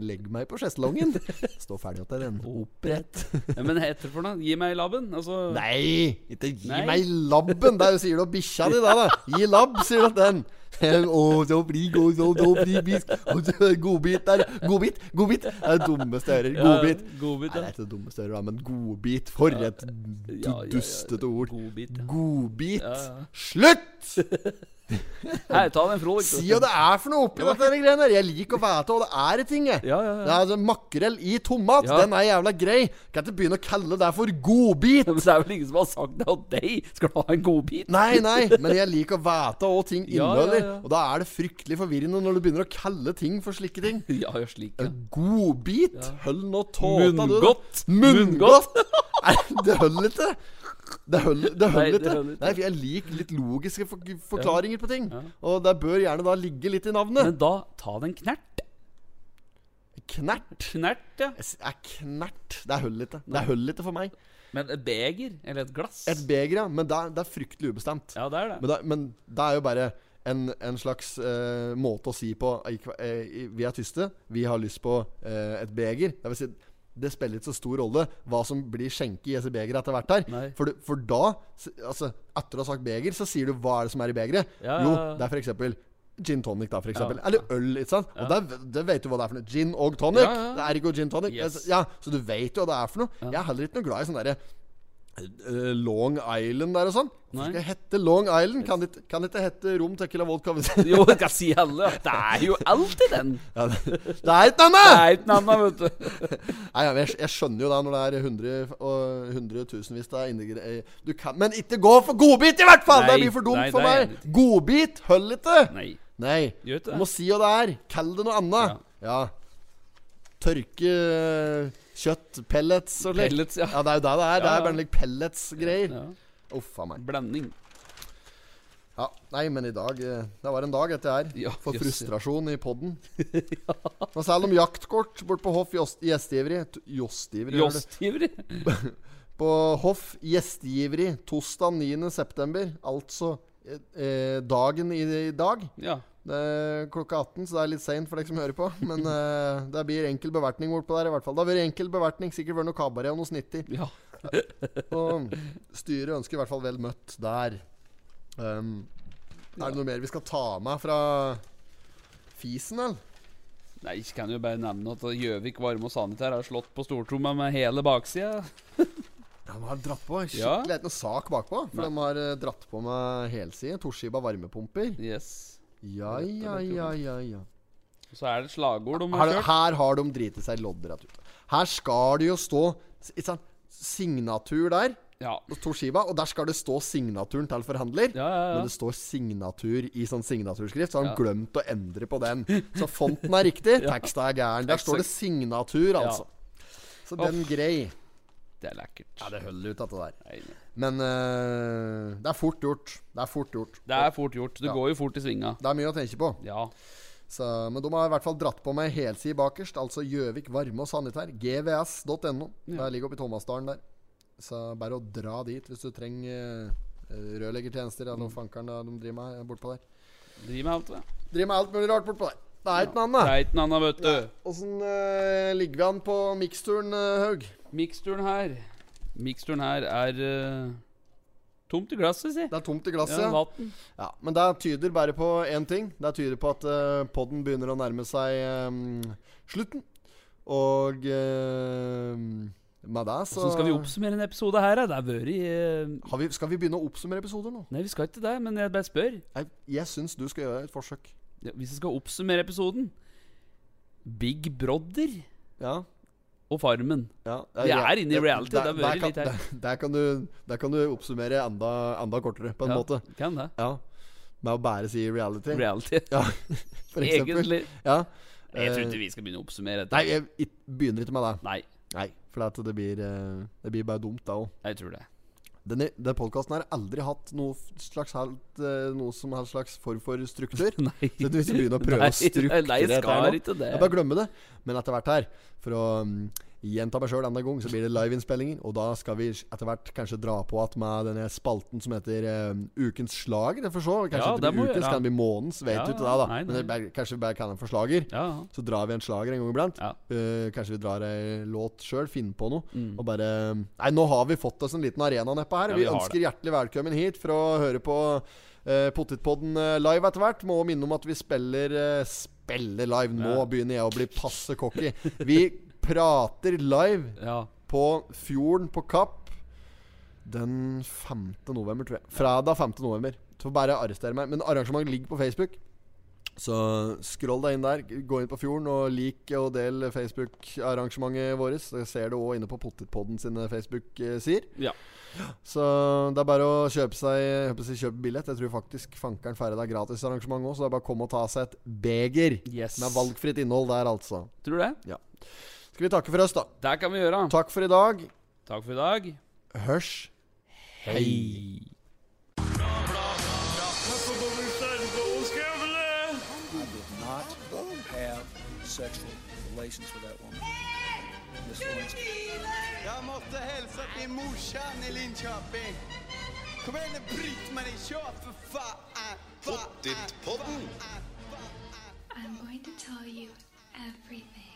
Legg meg på sjeslongen. Stå ferdig til den. Opprett.
Ja, men heter det for noe? Gi meg labben? Altså,
Nei! Ikke gi
Nei.
meg labben! Der sier du bikkja di, da. da. Gi labb, sier du til den. Å, så bli god, så, så bli bisk. Å, så- Godbit der. Godbit, godbit. Det er det dummeste jeg hører. Godbit.
Ja, godbit,
Nei, det
ja.
er ikke det dummeste jeg hører, men godbit. For et du-
Ja, ja, ja.
dustete ord.
Godbit, ja.
Godbit.
Ja, ja.
Slutt!
Her, ta den, Frode.
Si hva det er for noe oppi dette her greiene her. Jeg liker å vite hva det er i ting, jeg.
Ja, ja, ja.
Det er altså Makrell i tomat,
Ja.
den er jævla grei. Kan ikke begynne å kalle det for godbit.
Men det er vel ingen som har sagt det til deg? Skal du ha en godbit?
Nei, nei, men jeg liker å vite hva ting
Ja,
inneholder.
ja, ja.
Og da er det fryktelig forvirrende når du begynner å kalle ting for slike ting.
Ja, gjør slik, ja.
Godbit? Høll nå tåta, du. da.
Munngodt.
Munngodt? Nei, det holder ikke. Det holder det
Nei,
holder
det
ikke.
holder ikke.
Nei, for jeg liker litt logiske for forklaringer på ting. Og det bør gjerne da ligge litt i navnet.
Men da, ta den knert.
knert?
Knert, ja.
Jeg s- Er knert Det er hull ikke. Det er hull ikke for meg.
Men et beger, eller et glass.
Et beger, ja. Men det er, det er fryktelig ubestemt.
Ja, det er det.
Men, det, men det er jo bare en, en slags eh, måte å si på eh, ikke- eh, i- Vi er tyste, vi har lyst på eh, et beger. Det, vil si, det spiller ikke så stor rolle hva som blir skjenket i disse begeret etter hvert. her
Nei.
for, du- for da, s- altså etter å ha sagt beger, så sier du hva er det som er i begeret.
Ja,
Jo,
ja, ja.
det er for eksempel Gin tonic, da, for eksempel. Eller øl, ikke sant. Og det, det vet du hva det er for noe. Gin og tonic.
Ja, ja.
Det er ikke gin tonic.
Yes.
Ja, så du vet jo hva det er for noe. Jeg er heller ikke noe glad i sånn derre Eh, Long Island der og sånn. Hvorfor
Nei.
skal det hette Long Island? Kan det, kan det ikke hette Rom Tequila Vodka? hvis-
Jo, jeg kan si alle. Det er jo alltid den.
ja, det, det er ikke
Det
annet!
er ikke noe annet, vet du.
Nei, ja, men jeg, jeg skjønner jo det når det er hundre og hundretusenvis det er innegre... eh, Du kan Men ikke gå for godbit, i hvert fall! det
Nei,
blir for dumt
nei,
for
det er jeg
meg. Godbit, hold ikke!
Nei.
Nei.
Gjør ikke
Du
det.
må si hva det er. Kall det noe annet. Ja. Tørke eh, kjøtt, pellets og slikt.
Pellets, ja.
Ja, det er jo det det er. Det
Ja,
er
ja.
bare like pellets-greier.
ja.
Uff a meg.
Blanding.
Ja, Nei, men i dag eh, Det var en dag etter her.
Ja,
for
jøss.
frustrasjon i podden. Nå selger de jaktkort bort på Hoff Jost- Gjestgiveri T- Jostgiveri, hører du.
Jåstiveri.
På Hoff Gjestgiveri tosdag 9.9., altså eh, eh, dagen i, i dag.
Ja.
Det er klokka 18, så det er litt seint for deg som hører på. Men eh, det blir enkel bevertning bortpå der, i hvert fall. Det har vært enkel bevertning, sikkert vært noe kabaret og noe snittig.
Ja.
Og styret ønsker i hvert fall vel møtt der. Um, Er det noe mer vi skal ta med fra fisen, eller?
Nei, jeg kan jo bare nevne at Gjøvik varme og sanitær har slått på stortromma med hele baksida.
Ja, de har dratt på. Skikkelig
Ja.
Det er ikke noe sak bakpå. For
Nei.
de har eh, dratt på med helside. Toshiba varmepumper.
Yes.
Ja, ja, ja, ja, ja.
Og Så er det et slagord de har
Her,
kjørt.
her har de driti seg loddrett ut. Her skal det jo stå s- ikke sant, signatur der.
Ja.
hos Toshiba, og der skal det stå signaturen til forhandler.
Ja, ja, ja.
Men det står signatur i sånn signaturskrift, så har han glemt å endre på den. Så fonten er riktig, teksten er gæren. Der står det signatur, altså. Så den grei.
Det er lekkert.
Ja, det holder ut, dette der.
Nei, nei.
Men eh, det er fort gjort. Det er fort gjort.
Det er fort gjort. Det
Ja.
går jo fort i svinga.
Det er mye å tenke på.
Ja.
Så, men de har i hvert fall dratt på meg helside bakerst, altså Gjøvik varme og sanitær. GVS.no. Det ligger oppe i Thomasdalen der. Så bare å dra dit hvis du trenger eh, rørleggertjenester
Mm.
eller noe fankeren de driver med bortpå der.
Driver med alt, det.
Driver med alt mulig rart bortpå der. Det er ikke noe
Det
annet.
er ikke noe annet, vet du.
Åssen eh, ligger vi an på miksturen, eh, Haug?
Miksturen her Miksturen her er eh, tomt i glasset, si.
Det er tomt i glasset.
Ja,
Ja,
vatten.
men det tyder bare på én ting. Det tyder på at uh, poden begynner å nærme seg eh, slutten. Og eh, med det så
Så skal vi oppsummere en episode her, da. Det har vært eh,
Har vi, skal vi begynne å oppsummere episoder nå?
Nei, vi skal ikke det, men jeg bare spør.
Jeg, jeg syns du skal gjøre et forsøk.
Ja, Hvis jeg skal oppsummere episoden Big Brother
Ja.
og Farmen.
Ja,
Vi
ja,
er inne i
ja,
reality,
der-
det har
der
vært
kan-
litt her.
Der, der, kan du, der kan du oppsummere enda, enda kortere, på en
Ja,
måte.
Kan det.
Ja. Med å bare si reality,
Reality.
Ja, for eksempel.
Egentlig.
Ja.
Jeg tror
Eh,
ikke vi skal begynne å oppsummere dette.
Nei, jeg it- begynner ikke med det.
Nei,
Nei, For at det blir, eh, det blir bare dumt, da òg.
jeg tror det.
Denne, den podkasten har aldri hatt noe, f- slags helt, eh, noe som helst slags form for struktur.
Nei.
Så hvis vi begynner å prøve
Nei,
å strukturere
nei, jeg
dette her
skal
nå,
ikke det.
Jeg bare glemmer det. Men etter hvert her, for å mm, gjenta meg sjøl enda en gang, så blir det liveinnspillinger. Og da skal vi etter hvert kanskje dra på at med denne spalten som heter eh, Ukens slager. Det får se. Kanskje
Ja,
det
det
blir
må vi
ukens,
gjøre.
kan det bli månedens. Vet
Ja,
du ikke det, da.
nei,
Men det
nei.
bare, kanskje vi bare kaller den for slager.
Ja.
Så drar vi en slager en gang iblant.
Ja.
Eh, kanskje vi drar ei låt sjøl, finner på noe. Og bare Nei, nå har vi fått oss en liten arena nedpå
Mm.
her.
Ja,
vi
vi har
ønsker hjertelig velkommen hit for å høre på eh, Pottitpodden eh, live etter hvert. Må minne om at vi spiller eh, Spiller live. Nå
Ja.
begynner jeg å bli passe cocky. Vi prater live
ja.
på Fjorden på Kapp den 5. november, tror jeg. Fredag 5. november. Så bare arrester meg. Men arrangementet ligger på Facebook. Så scroll deg inn der. Gå inn på Fjorden og lik og del Facebook-arrangementet vårt. Det ser du òg inne på Pottitpodden sine Facebook-sider.
Ja.
Så det er bare å kjøpe seg jeg håper å si kjøpe billett. Jeg tror faktisk fankeren ferdig det er gratisarrangement òg, så det er bare å komme og ta seg et beger
Yes.
med valgfritt innhold der, altså.
Tror du det?
Skal vi takke for oss, da.
Det kan vi gjøre.
Takk for i dag.
Takk for i dag.
Hørs.
Hei.
I did not have sexual relations with that woman. Miss Lewinsky.
Jag måste hälsa till morsan i Linköping. Kom igen nu Britt-Marie, kör för fan! Fa-
I'm going to tell you everything.